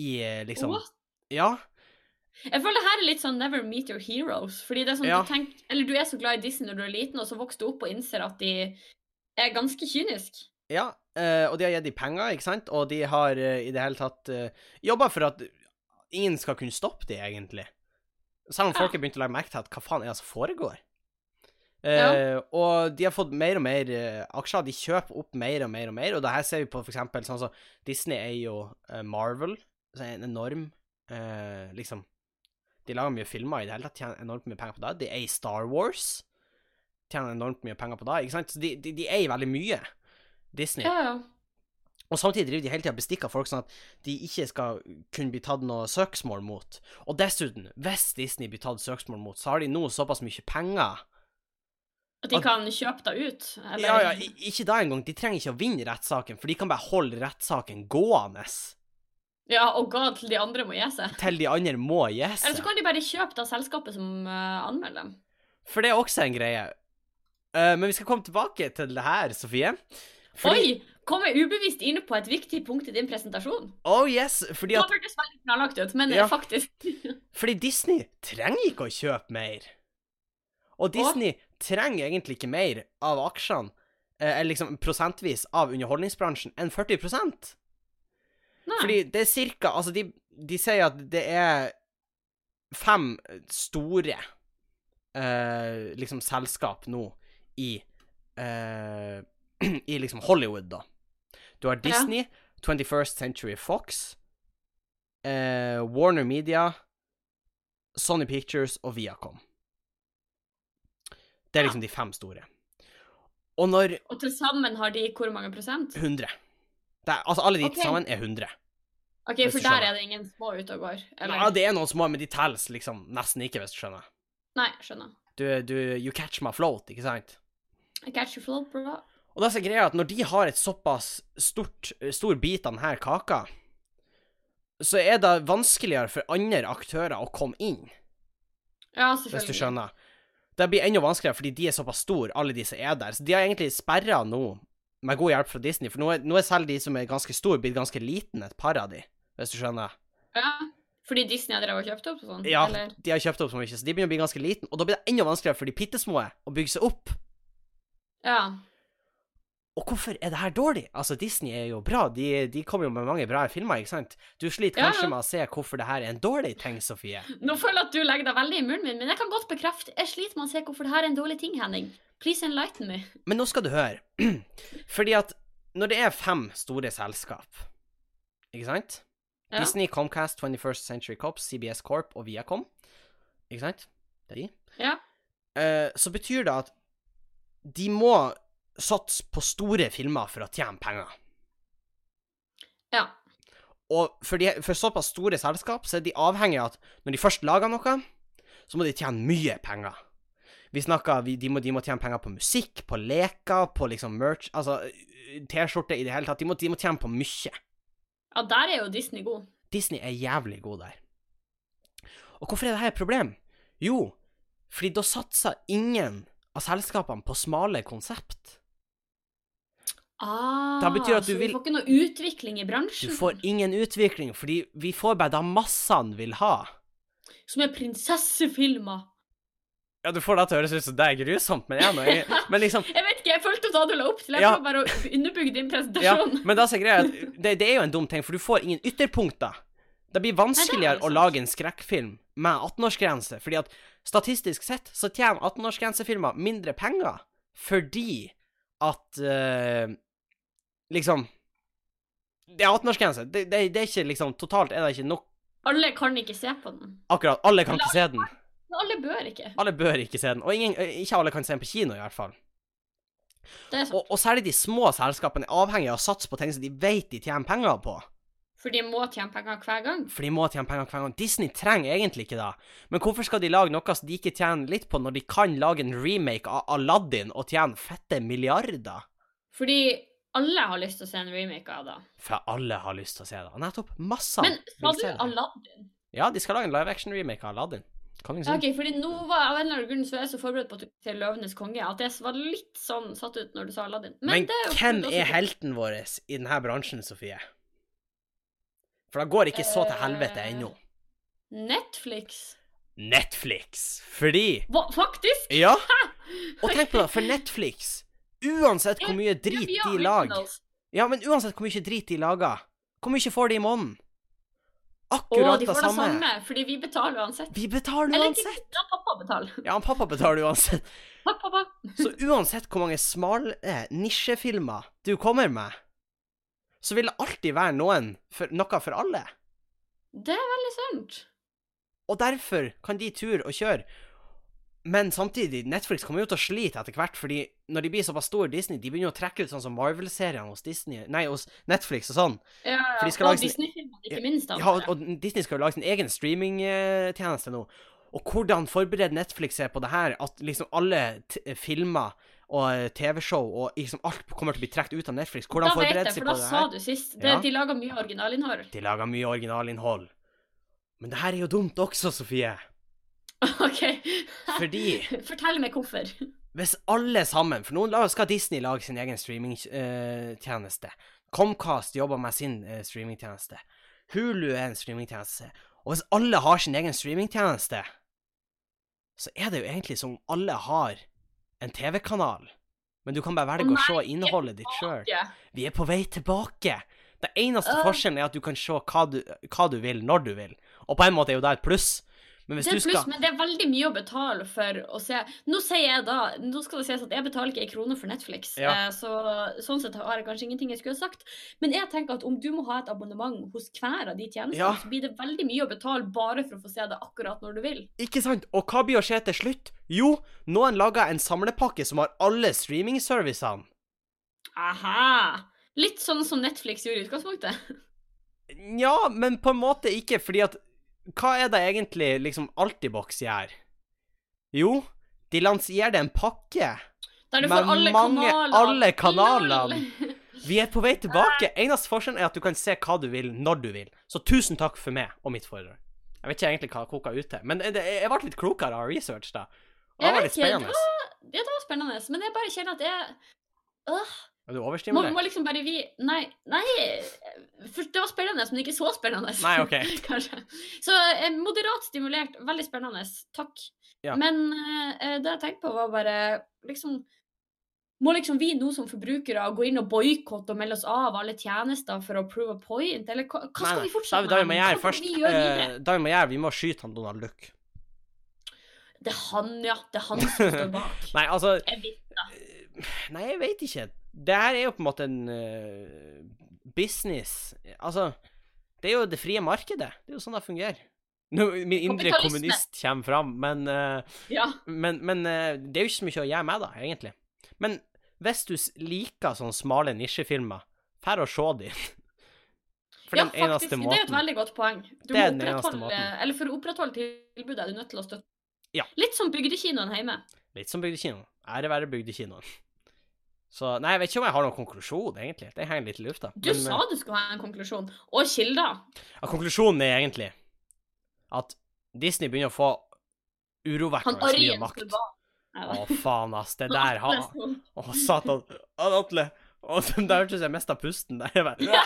S1: i eh, liksom
S2: What?
S1: Ja.
S2: Jeg føler det her er litt sånn never meet your heroes. Fordi det er sånn
S1: Ja.
S2: du tenker Eller du er så glad i Disney når du er liten, og så vokser du opp og innser at de er ganske kyniske.
S1: Ja, eh, og de har gitt dem penger, ikke sant? Og de har eh, i det hele tatt uh, jobba for at ingen skal kunne stoppe dem, egentlig. Selv om
S2: Ja.
S1: folk har begynt å legge merke til at hva faen er det som foregår? Eh, Og de har fått mer og mer eh, aksjer. De kjøper opp mer og mer og mer. Og det her ser vi på for eksempel sånn som Disney er jo eh, Marvel, så er en enorm eh, Liksom De lager mye filmer i det hele tatt, tjener enormt mye penger på det. De eier Star Wars, tjener enormt mye penger på det. Ikke sant? Så de, de, de eier veldig mye, Disney.
S2: Ja, ja.
S1: Og samtidig driver de hele tida bestikk av folk, sånn at de ikke skal kunne bli tatt noe søksmål mot. Og dessuten, hvis Disney blir tatt søksmål mot, så har de nå såpass mye penger
S2: At de
S1: At-
S2: kan kjøpe deg ut? Eller?
S1: Ja, ja, i- ikke da engang. De trenger ikke å vinne rettssaken, for de kan bare holde rettssaken gående
S2: ja, og ga til de andre må gi seg?
S1: til de andre må gi
S2: Eller
S1: seg.
S2: så kan de bare kjøpe det av selskapet som eh, anmelder dem.
S1: For det er også en greie. Eh, men vi skal komme tilbake til det her, Sofie. Fordi,
S2: Oi! Kom jeg ubevisst inn på et viktig punkt i din presentasjon?
S1: Oh yes, fordi,
S2: Det
S1: at,
S2: hørtes veldig planlagt ut, men
S1: Ja.
S2: faktisk
S1: fordi Disney trenger ikke å kjøpe mer. Og Disney trenger egentlig ikke mer av aksjene, eh, eller liksom prosentvis av underholdningsbransjen, enn 40
S2: Nei.
S1: Fordi det er cirka Altså, de, de sier at det er fem store eh, liksom selskap nå i eh, I liksom Hollywood, da. Du har Disney, 21st Century Fox, eh, Warner Media, Sony Pictures og Viacom. Det er liksom de fem store. Og når
S2: Og til sammen har de hvor mange prosent?
S1: 100 det er, Altså alle de
S2: Ok.
S1: til sammen er 100.
S2: OK,
S1: Hvis
S2: for
S1: du
S2: der
S1: skjønner.
S2: er det ingen små ute og går? Eller?
S1: Ja, det er noen små, men de telles liksom nesten ikke, hvis du skjønner.
S2: Nei, skjønner.
S1: Du, du, you catch my float, ikke sant?
S2: I catch you flow, bro.
S1: Og det som er greia, er at når de har et såpass stort, stor bit av denne kaka, så er det vanskeligere for andre aktører å komme inn,
S2: Ja,
S1: hvis du
S2: selvfølgelig.
S1: skjønner. Det blir enda vanskeligere fordi de er såpass store, alle de som er der. Så de har egentlig sperra nå, med god hjelp fra Disney, for nå er, nå er selv de som er ganske store, blitt ganske liten et par av de, hvis du skjønner.
S2: Ja, fordi Disney har drevet og kjøpt opp og sånn?
S1: Ja,
S2: Eller?
S1: de har kjøpt opp så mye, så de begynner å bli ganske liten, og da blir det enda vanskeligere for de bittesmå å bygge seg opp.
S2: Ja.
S1: Og hvorfor er det her dårlig? Altså, Disney er jo bra, de, de kommer jo med mange bra filmer, ikke sant? Du sliter
S2: Ja,
S1: kanskje
S2: ja.
S1: med å se hvorfor det her er en dårlig ting, Sofie.
S2: Nå føler jeg at du legger deg veldig i munnen min, men jeg kan godt bekrefte Jeg sliter med å se hvorfor det her er en dårlig ting, Henning. Please enlighten me.
S1: Men nå skal du høre. Fordi at når det er fem store selskap, ikke sant?
S2: Ja.
S1: Disney, Comcast, 21st Century Cop, CBS Corp og Viacom, ikke sant? Det er de.
S2: Ja.
S1: Eh, så betyr det at de må satse på store filmer for å tjene penger.
S2: Ja.
S1: Og for, de, for såpass store selskap så er de avhengig av at når de først lager noe, så må de tjene mye penger. Vi snakker, vi, de, må, de må tjene penger på musikk, på leker, på liksom merch, altså T-skjorte i det hele tatt. De må, de må tjene på mye.
S2: ja, der er jo Disney god.
S1: Disney er jævlig god der. Og hvorfor er dette et problem? Jo, fordi da satser ingen av selskapene på smale konsept.
S2: Ah,
S1: Da betyr at du
S2: så
S1: vil-
S2: vi får ikke noe utvikling i
S1: Du
S2: bransjen?
S1: får ingen utvikling, fordi vi får bare det massene vil ha.
S2: Som er prinsessefilmer.
S1: Ja, du får det til å høres ut som det er grusomt, men, jeg, nå- jeg, men liksom
S2: Jeg vet ikke, jeg følte da du la opp til. Jeg
S1: Ja.
S2: prøver bare å underbygge din
S1: Ja,
S2: presentasjon.
S1: men da er altså greia at det, det er jo en dum ting, for du får ingen ytterpunkter. Det blir vanskeligere å
S2: sant.
S1: lage en skrekkfilm med 18-årsgrense, fordi at statistisk sett så tjener 18-årsgrensefilmer mindre penger fordi at eh, Liksom Det er 18-årsgrense. Det, det, det er ikke liksom Totalt er det ikke nok
S2: Alle kan ikke se på den.
S1: Akkurat. Alle kan ikke se den.
S2: Men alle bør ikke.
S1: Alle bør ikke se den. Og ingen, eh, ikke alle kan se den på kino, i hvert fall.
S2: Det er sant.
S1: Og, og særlig de små selskapene er avhengig av å satse på ting som de vet de tjener penger på.
S2: For de må tjene penger hver gang.
S1: For de må tjene penger hver gang. Disney trenger egentlig ikke det. Men hvorfor skal de lage noe som de ikke tjener litt på, når de kan lage en remake av Aladdin og tjene fette milliarder?
S2: Fordi alle har lyst til å se en remake av det.
S1: For alle har lyst til å se det. Nettopp. Massene
S2: Men sa
S1: vil
S2: du
S1: se det.
S2: Aladdin?
S1: Ja, de skal lage en live action-remake av Aladdin. Coming soon.
S2: Ok, fordi nå var av en eller annen grunn så er jeg så forberedt på at du skulle si Løvenes konge, at jeg var litt sånn satt ut når du sa Aladdin.
S1: Men,
S2: det er jo
S1: hvem
S2: fullt også-
S1: er helten vår i denne bransjen, Sofie? For det går ikke så til helvete
S2: Eh.
S1: ennå.
S2: Netflix.
S1: Netflix. Fordi
S2: Hva, faktisk?
S1: Ja. Og tenk på det, for Netflix Uansett hvor mye
S2: Ja,
S1: drit
S2: vi har
S1: de lager
S2: originals.
S1: Ja, men uansett hvor mye drit de lager, hvor mye får de i måneden?
S2: Å,
S1: Akkurat
S2: de
S1: det
S2: får det
S1: samme.
S2: samme, fordi vi betaler uansett.
S1: Vi betaler
S2: Eller
S1: uansett.
S2: ikke, da pappa betaler.
S1: Ja, han pappa betaler uansett.
S2: Takk, pappa.
S1: Så uansett hvor mange smale eh, nisjefilmer du kommer med, så vil det alltid være noen for, noe for alle.
S2: Det er veldig sant.
S1: Og derfor kan de tur og kjøre. Men samtidig, Netflix kommer jo til å slite etter hvert, fordi når de blir såpass store Disney, de begynner å trekke ut sånn som Marvel-seriene hos Disney Nei, hos Netflix og sånn.
S2: Ja, ja.
S1: For de skal
S2: og
S1: lage sin-
S2: Disney-filmer, ikke minst. da.
S1: Ja, og, og Disney skal jo lage sin egen streamingtjeneste nå. Og hvordan forbereder Netflix seg på det her, at liksom alle t filmer og eh, TV-show og liksom alt kommer til å bli trukket ut av Netflix? Hvordan
S2: da vet
S1: forbereder
S2: jeg,
S1: de seg
S2: for
S1: på
S2: da
S1: det
S2: sa
S1: her?
S2: du sist. Det,
S1: Ja.
S2: De lager mye originalinnhold.
S1: De lager mye originalinnhold. Men det her er jo dumt også, Sofie.
S2: OK.
S1: Fordi
S2: Fortell meg hvorfor.
S1: hvis alle sammen For nå la- skal Disney lage sin egen streamingtjeneste. Comcast jobber med sin eh, streamingtjeneste. Hulu er en streamingtjeneste. Og hvis alle har sin egen streamingtjeneste, så er det jo egentlig som om alle har en TV-kanal, men du kan bare velge
S2: Å
S1: å se
S2: nei,
S1: innholdet ditt sjøl.
S2: Ja.
S1: Vi er på vei tilbake. Den eneste
S2: Åh.
S1: forskjellen er at du kan se hva du, hva du vil, når du vil. Og på en måte er jo det et pluss, Men hvis
S2: Det
S1: du
S2: er
S1: skal
S2: pluss, men det er veldig mye å betale for å se Nå sier jeg da, nå skal det sies at jeg betaler ikke ei krone for Netflix,
S1: Ja.
S2: eh, så sånn sett har jeg kanskje ingenting jeg skulle ha sagt. Men jeg tenker at om du må ha et abonnement hos hver av de tjenestene,
S1: Ja.
S2: så blir det veldig mye å betale bare for å få se det akkurat når du vil.
S1: Ikke sant? Og hva blir å skje til slutt? Jo, noen lager en samlepakke som har alle streamingservicene.
S2: Aha! Litt sånn som Netflix gjorde i utgangspunktet.
S1: Nja, men på en måte ikke, fordi at Hva er det egentlig liksom Altibox gjør? Jo, de lanserer en pakke.
S2: Der du
S1: Men
S2: får alle
S1: mange-
S2: kanaler.
S1: alle
S2: Lol.
S1: kanalene. Vi er på vei tilbake. Eneste forskjellen er at du kan se hva du vil, når du vil. Så tusen takk for meg og mitt foredrag. Jeg vet ikke egentlig hva jeg koka ut til, men det, jeg ble litt klokere av research, da. Og det
S2: Jeg
S1: var
S2: vet
S1: litt
S2: ikke, det
S1: spennende.
S2: var, det var spennende, men jeg bare kjenner at jeg øh,
S1: Er du
S2: må, må
S1: overstimulert?
S2: liksom bare vi Nei, nei for det var spennende, men ikke så spennende.
S1: Nei, OK.
S2: Kanskje. Så eh, moderat stimulert, veldig spennende. Takk.
S1: Ja.
S2: Men eh, det jeg tenkte på, var bare liksom Må liksom vi nå som forbrukere gå inn og boikotte og melde oss av alle tjenester for å prove a point, eller hva, hva skal
S1: Nei, nei.
S2: vi fortsette
S1: Da, da må
S2: med?
S1: jeg gjøre
S2: Hva
S1: først
S2: skal vi gjøre videre?
S1: eh, Da må jeg gjøre Vi må skyte han Donald Duck.
S2: Det er han, ja. Det er han som står bak.
S1: Nei, altså eh,
S2: Jeg vet-
S1: Nei, jeg veit ikke. Det her er jo på en måte en eh, business Altså, det er jo det frie markedet. Det er jo sånn det fungerer. Nå, min indre
S2: Kapitalisme.
S1: kommunist kommer fram, men eh,
S2: Ja.
S1: Men, men eh, det er jo ikke så mye å gjøre med, da, egentlig. Men hvis du s- liker sånne smale nisjefilmer, fær og se de. For
S2: ja,
S1: den eneste
S2: Det er et
S1: måten.
S2: veldig godt poeng. Du
S1: Det er
S2: må
S1: den eneste
S2: opprettholde-
S1: måten.
S2: Eller for å opprettholde tilbudet er du nødt til å støtte.
S1: Ja.
S2: Litt som bygdekinoen hjemme.
S1: Litt som bygdekinoen. Ære være bygdekinoen. Så nei, jeg vet ikke om jeg har noen konklusjon, egentlig. Det henger litt i lufta.
S2: Du
S1: Men,
S2: sa du skulle ha en konklusjon, og kilder.
S1: eh, ja, konklusjonen er egentlig at Disney begynner å få
S2: Han
S1: urovekkende mye
S2: Arjen
S1: makt.
S2: skulle
S1: Å,
S2: være
S1: faen, ass. Det der har Å, satan. Han Atle. Å, det hørtes ut som jeg mista pusten der. Jeg bare,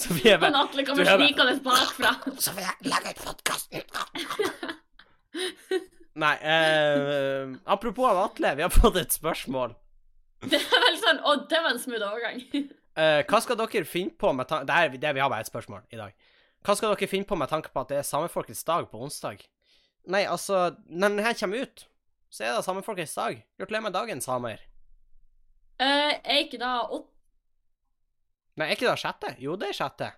S1: så vi er bare
S2: Han Atle
S1: Du
S2: kommer
S1: er bare-
S2: snikende bakfra.
S1: Så vil jeg lage ut podkasten. Nei eh, Apropos han Atle, vi har fått et spørsmål.
S2: Det er vel sånn Å, det var en smooth overgang.
S1: Eh, hva skal dere finne på med tanke det, er- det er- vi har bare et spørsmål i dag. Hva skal dere finne på med tanke på at det er Samefolkets dag på onsdag? Nei, altså Når den her kommer ut, så er det Samefolkets dag. Gratulerer med dagen, samer.
S2: Eh, er ikke da åtte
S1: Nei, er ikke det sjette? Jo, det er sjette.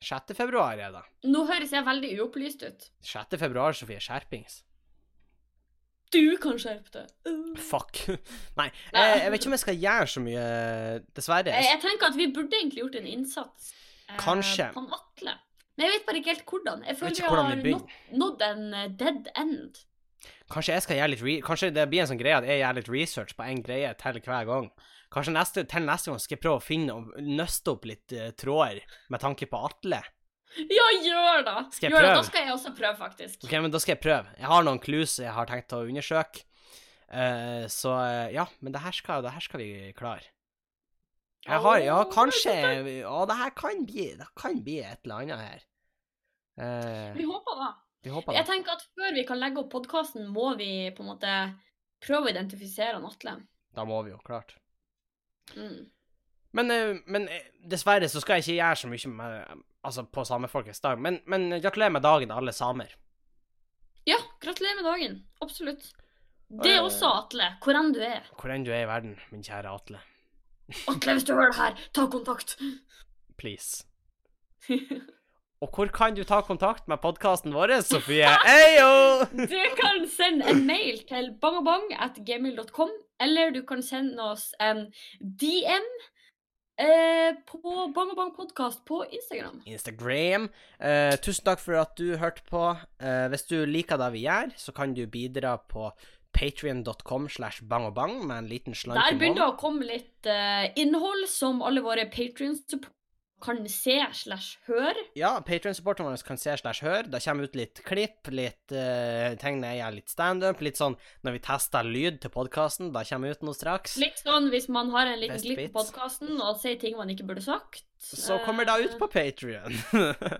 S1: Sjette februar er det.
S2: Nå høres jeg veldig uopplyst ut.
S1: Sjette februar, Sofie. Skjerpings.
S2: Du kan skjerpe deg. Uh.
S1: Fuck. Nei, eh, jeg, jeg vet ikke om jeg skal gjøre så mye, eh, dessverre.
S2: Eh, Jeg, jeg tenker at vi burde egentlig gjort en innsats eh,
S1: Kanskje.
S2: på han Atle. Men jeg vet bare ikke helt hvordan. Jeg
S1: vet
S2: føler
S1: ikke
S2: vi
S1: hvordan vi
S2: har
S1: begynner.
S2: nådd, nådd en eh, dead end.
S1: Kanskje jeg skal gjøre litt re Kanskje det blir en sånn greie at jeg gjør litt research på en greie til hver gang. Kanskje neste, til neste gang skal jeg prøve å finne og nøste opp litt eh, tråder med tanke på Atle.
S2: Ja, gjør da!
S1: Skal jeg
S2: gjør
S1: prøve?
S2: Da skal jeg også prøve, faktisk.
S1: Ok, men da skal jeg prøve. Jeg har noen clues jeg har tenkt å undersøke. Eh, så eh, ja, men det her skal, det her skal vi klare. Jeg har Ja,
S2: Åh,
S1: kanskje Å, det her kan bli Det kan bli et eller annet her. Eh,
S2: Vi håper da.
S1: vi håper det.
S2: Jeg tenker at før vi kan legge opp podkasten, må vi på en måte prøve å identifisere han Atle.
S1: Da må vi jo, klart.
S2: Mm.
S1: Men, eh, men eh, dessverre så skal jeg ikke gjøre så mye med, altså på samefolkets dag. Men, men eh, gratulerer med dagen, alle samer.
S2: Ja, gratulerer med dagen. Absolutt.
S1: Og,
S2: Det
S1: eh,
S2: er også Atle, hvor enn du er.
S1: Hvor enn du er i verden, min kjære Atle.
S2: Atle, hvis du hører det her, ta kontakt!
S1: Please. Og hvor kan du ta kontakt med podkasten vår, Sofie? Eyo!
S2: Du kan sende en mail til bangabang.gmil.com, eller du kan sende oss en DM eh, på bangabangpodkast på Instagram.
S1: Instagram. Eh, tusen takk for at du hørte på. Eh, hvis du liker det vi gjør, så kan du bidra på patrion.com slash bangobang med en liten slant
S2: Der
S1: i
S2: begynner det
S1: måneden.
S2: å komme litt eh, innhold som alle våre patrions kan se slash høre.
S1: Ja, Patrion-supporterne våre kan se slash høre. Det kommer ut litt klipp, litt uh, ting jeg gjør, litt standup. Litt sånn når vi tester lyd til podkasten. Det kommer ut noe straks.
S2: Litt sånn hvis man har en liten
S1: Best
S2: glipp på
S1: bits.
S2: podkasten og sier ting man ikke burde sagt.
S1: Så kommer det ut på Patrion.
S2: Eh,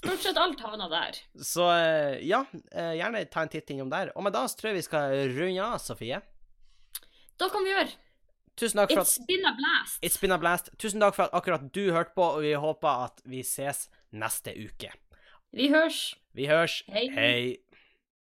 S2: Stort sett alt havner der.
S1: så eh, ja, eh, gjerne ta en titt innom der. Og med det så tror jeg vi skal runde av, Sofie.
S2: Da kan vi gjøre
S1: Tusen takk for at
S2: It's been a blast.
S1: It's been a blast. Tusen takk for at akkurat du hørte på, og vi håper at vi ses neste uke.
S2: Vi hørs.
S1: Vi høres.
S2: Hei.
S1: Hei.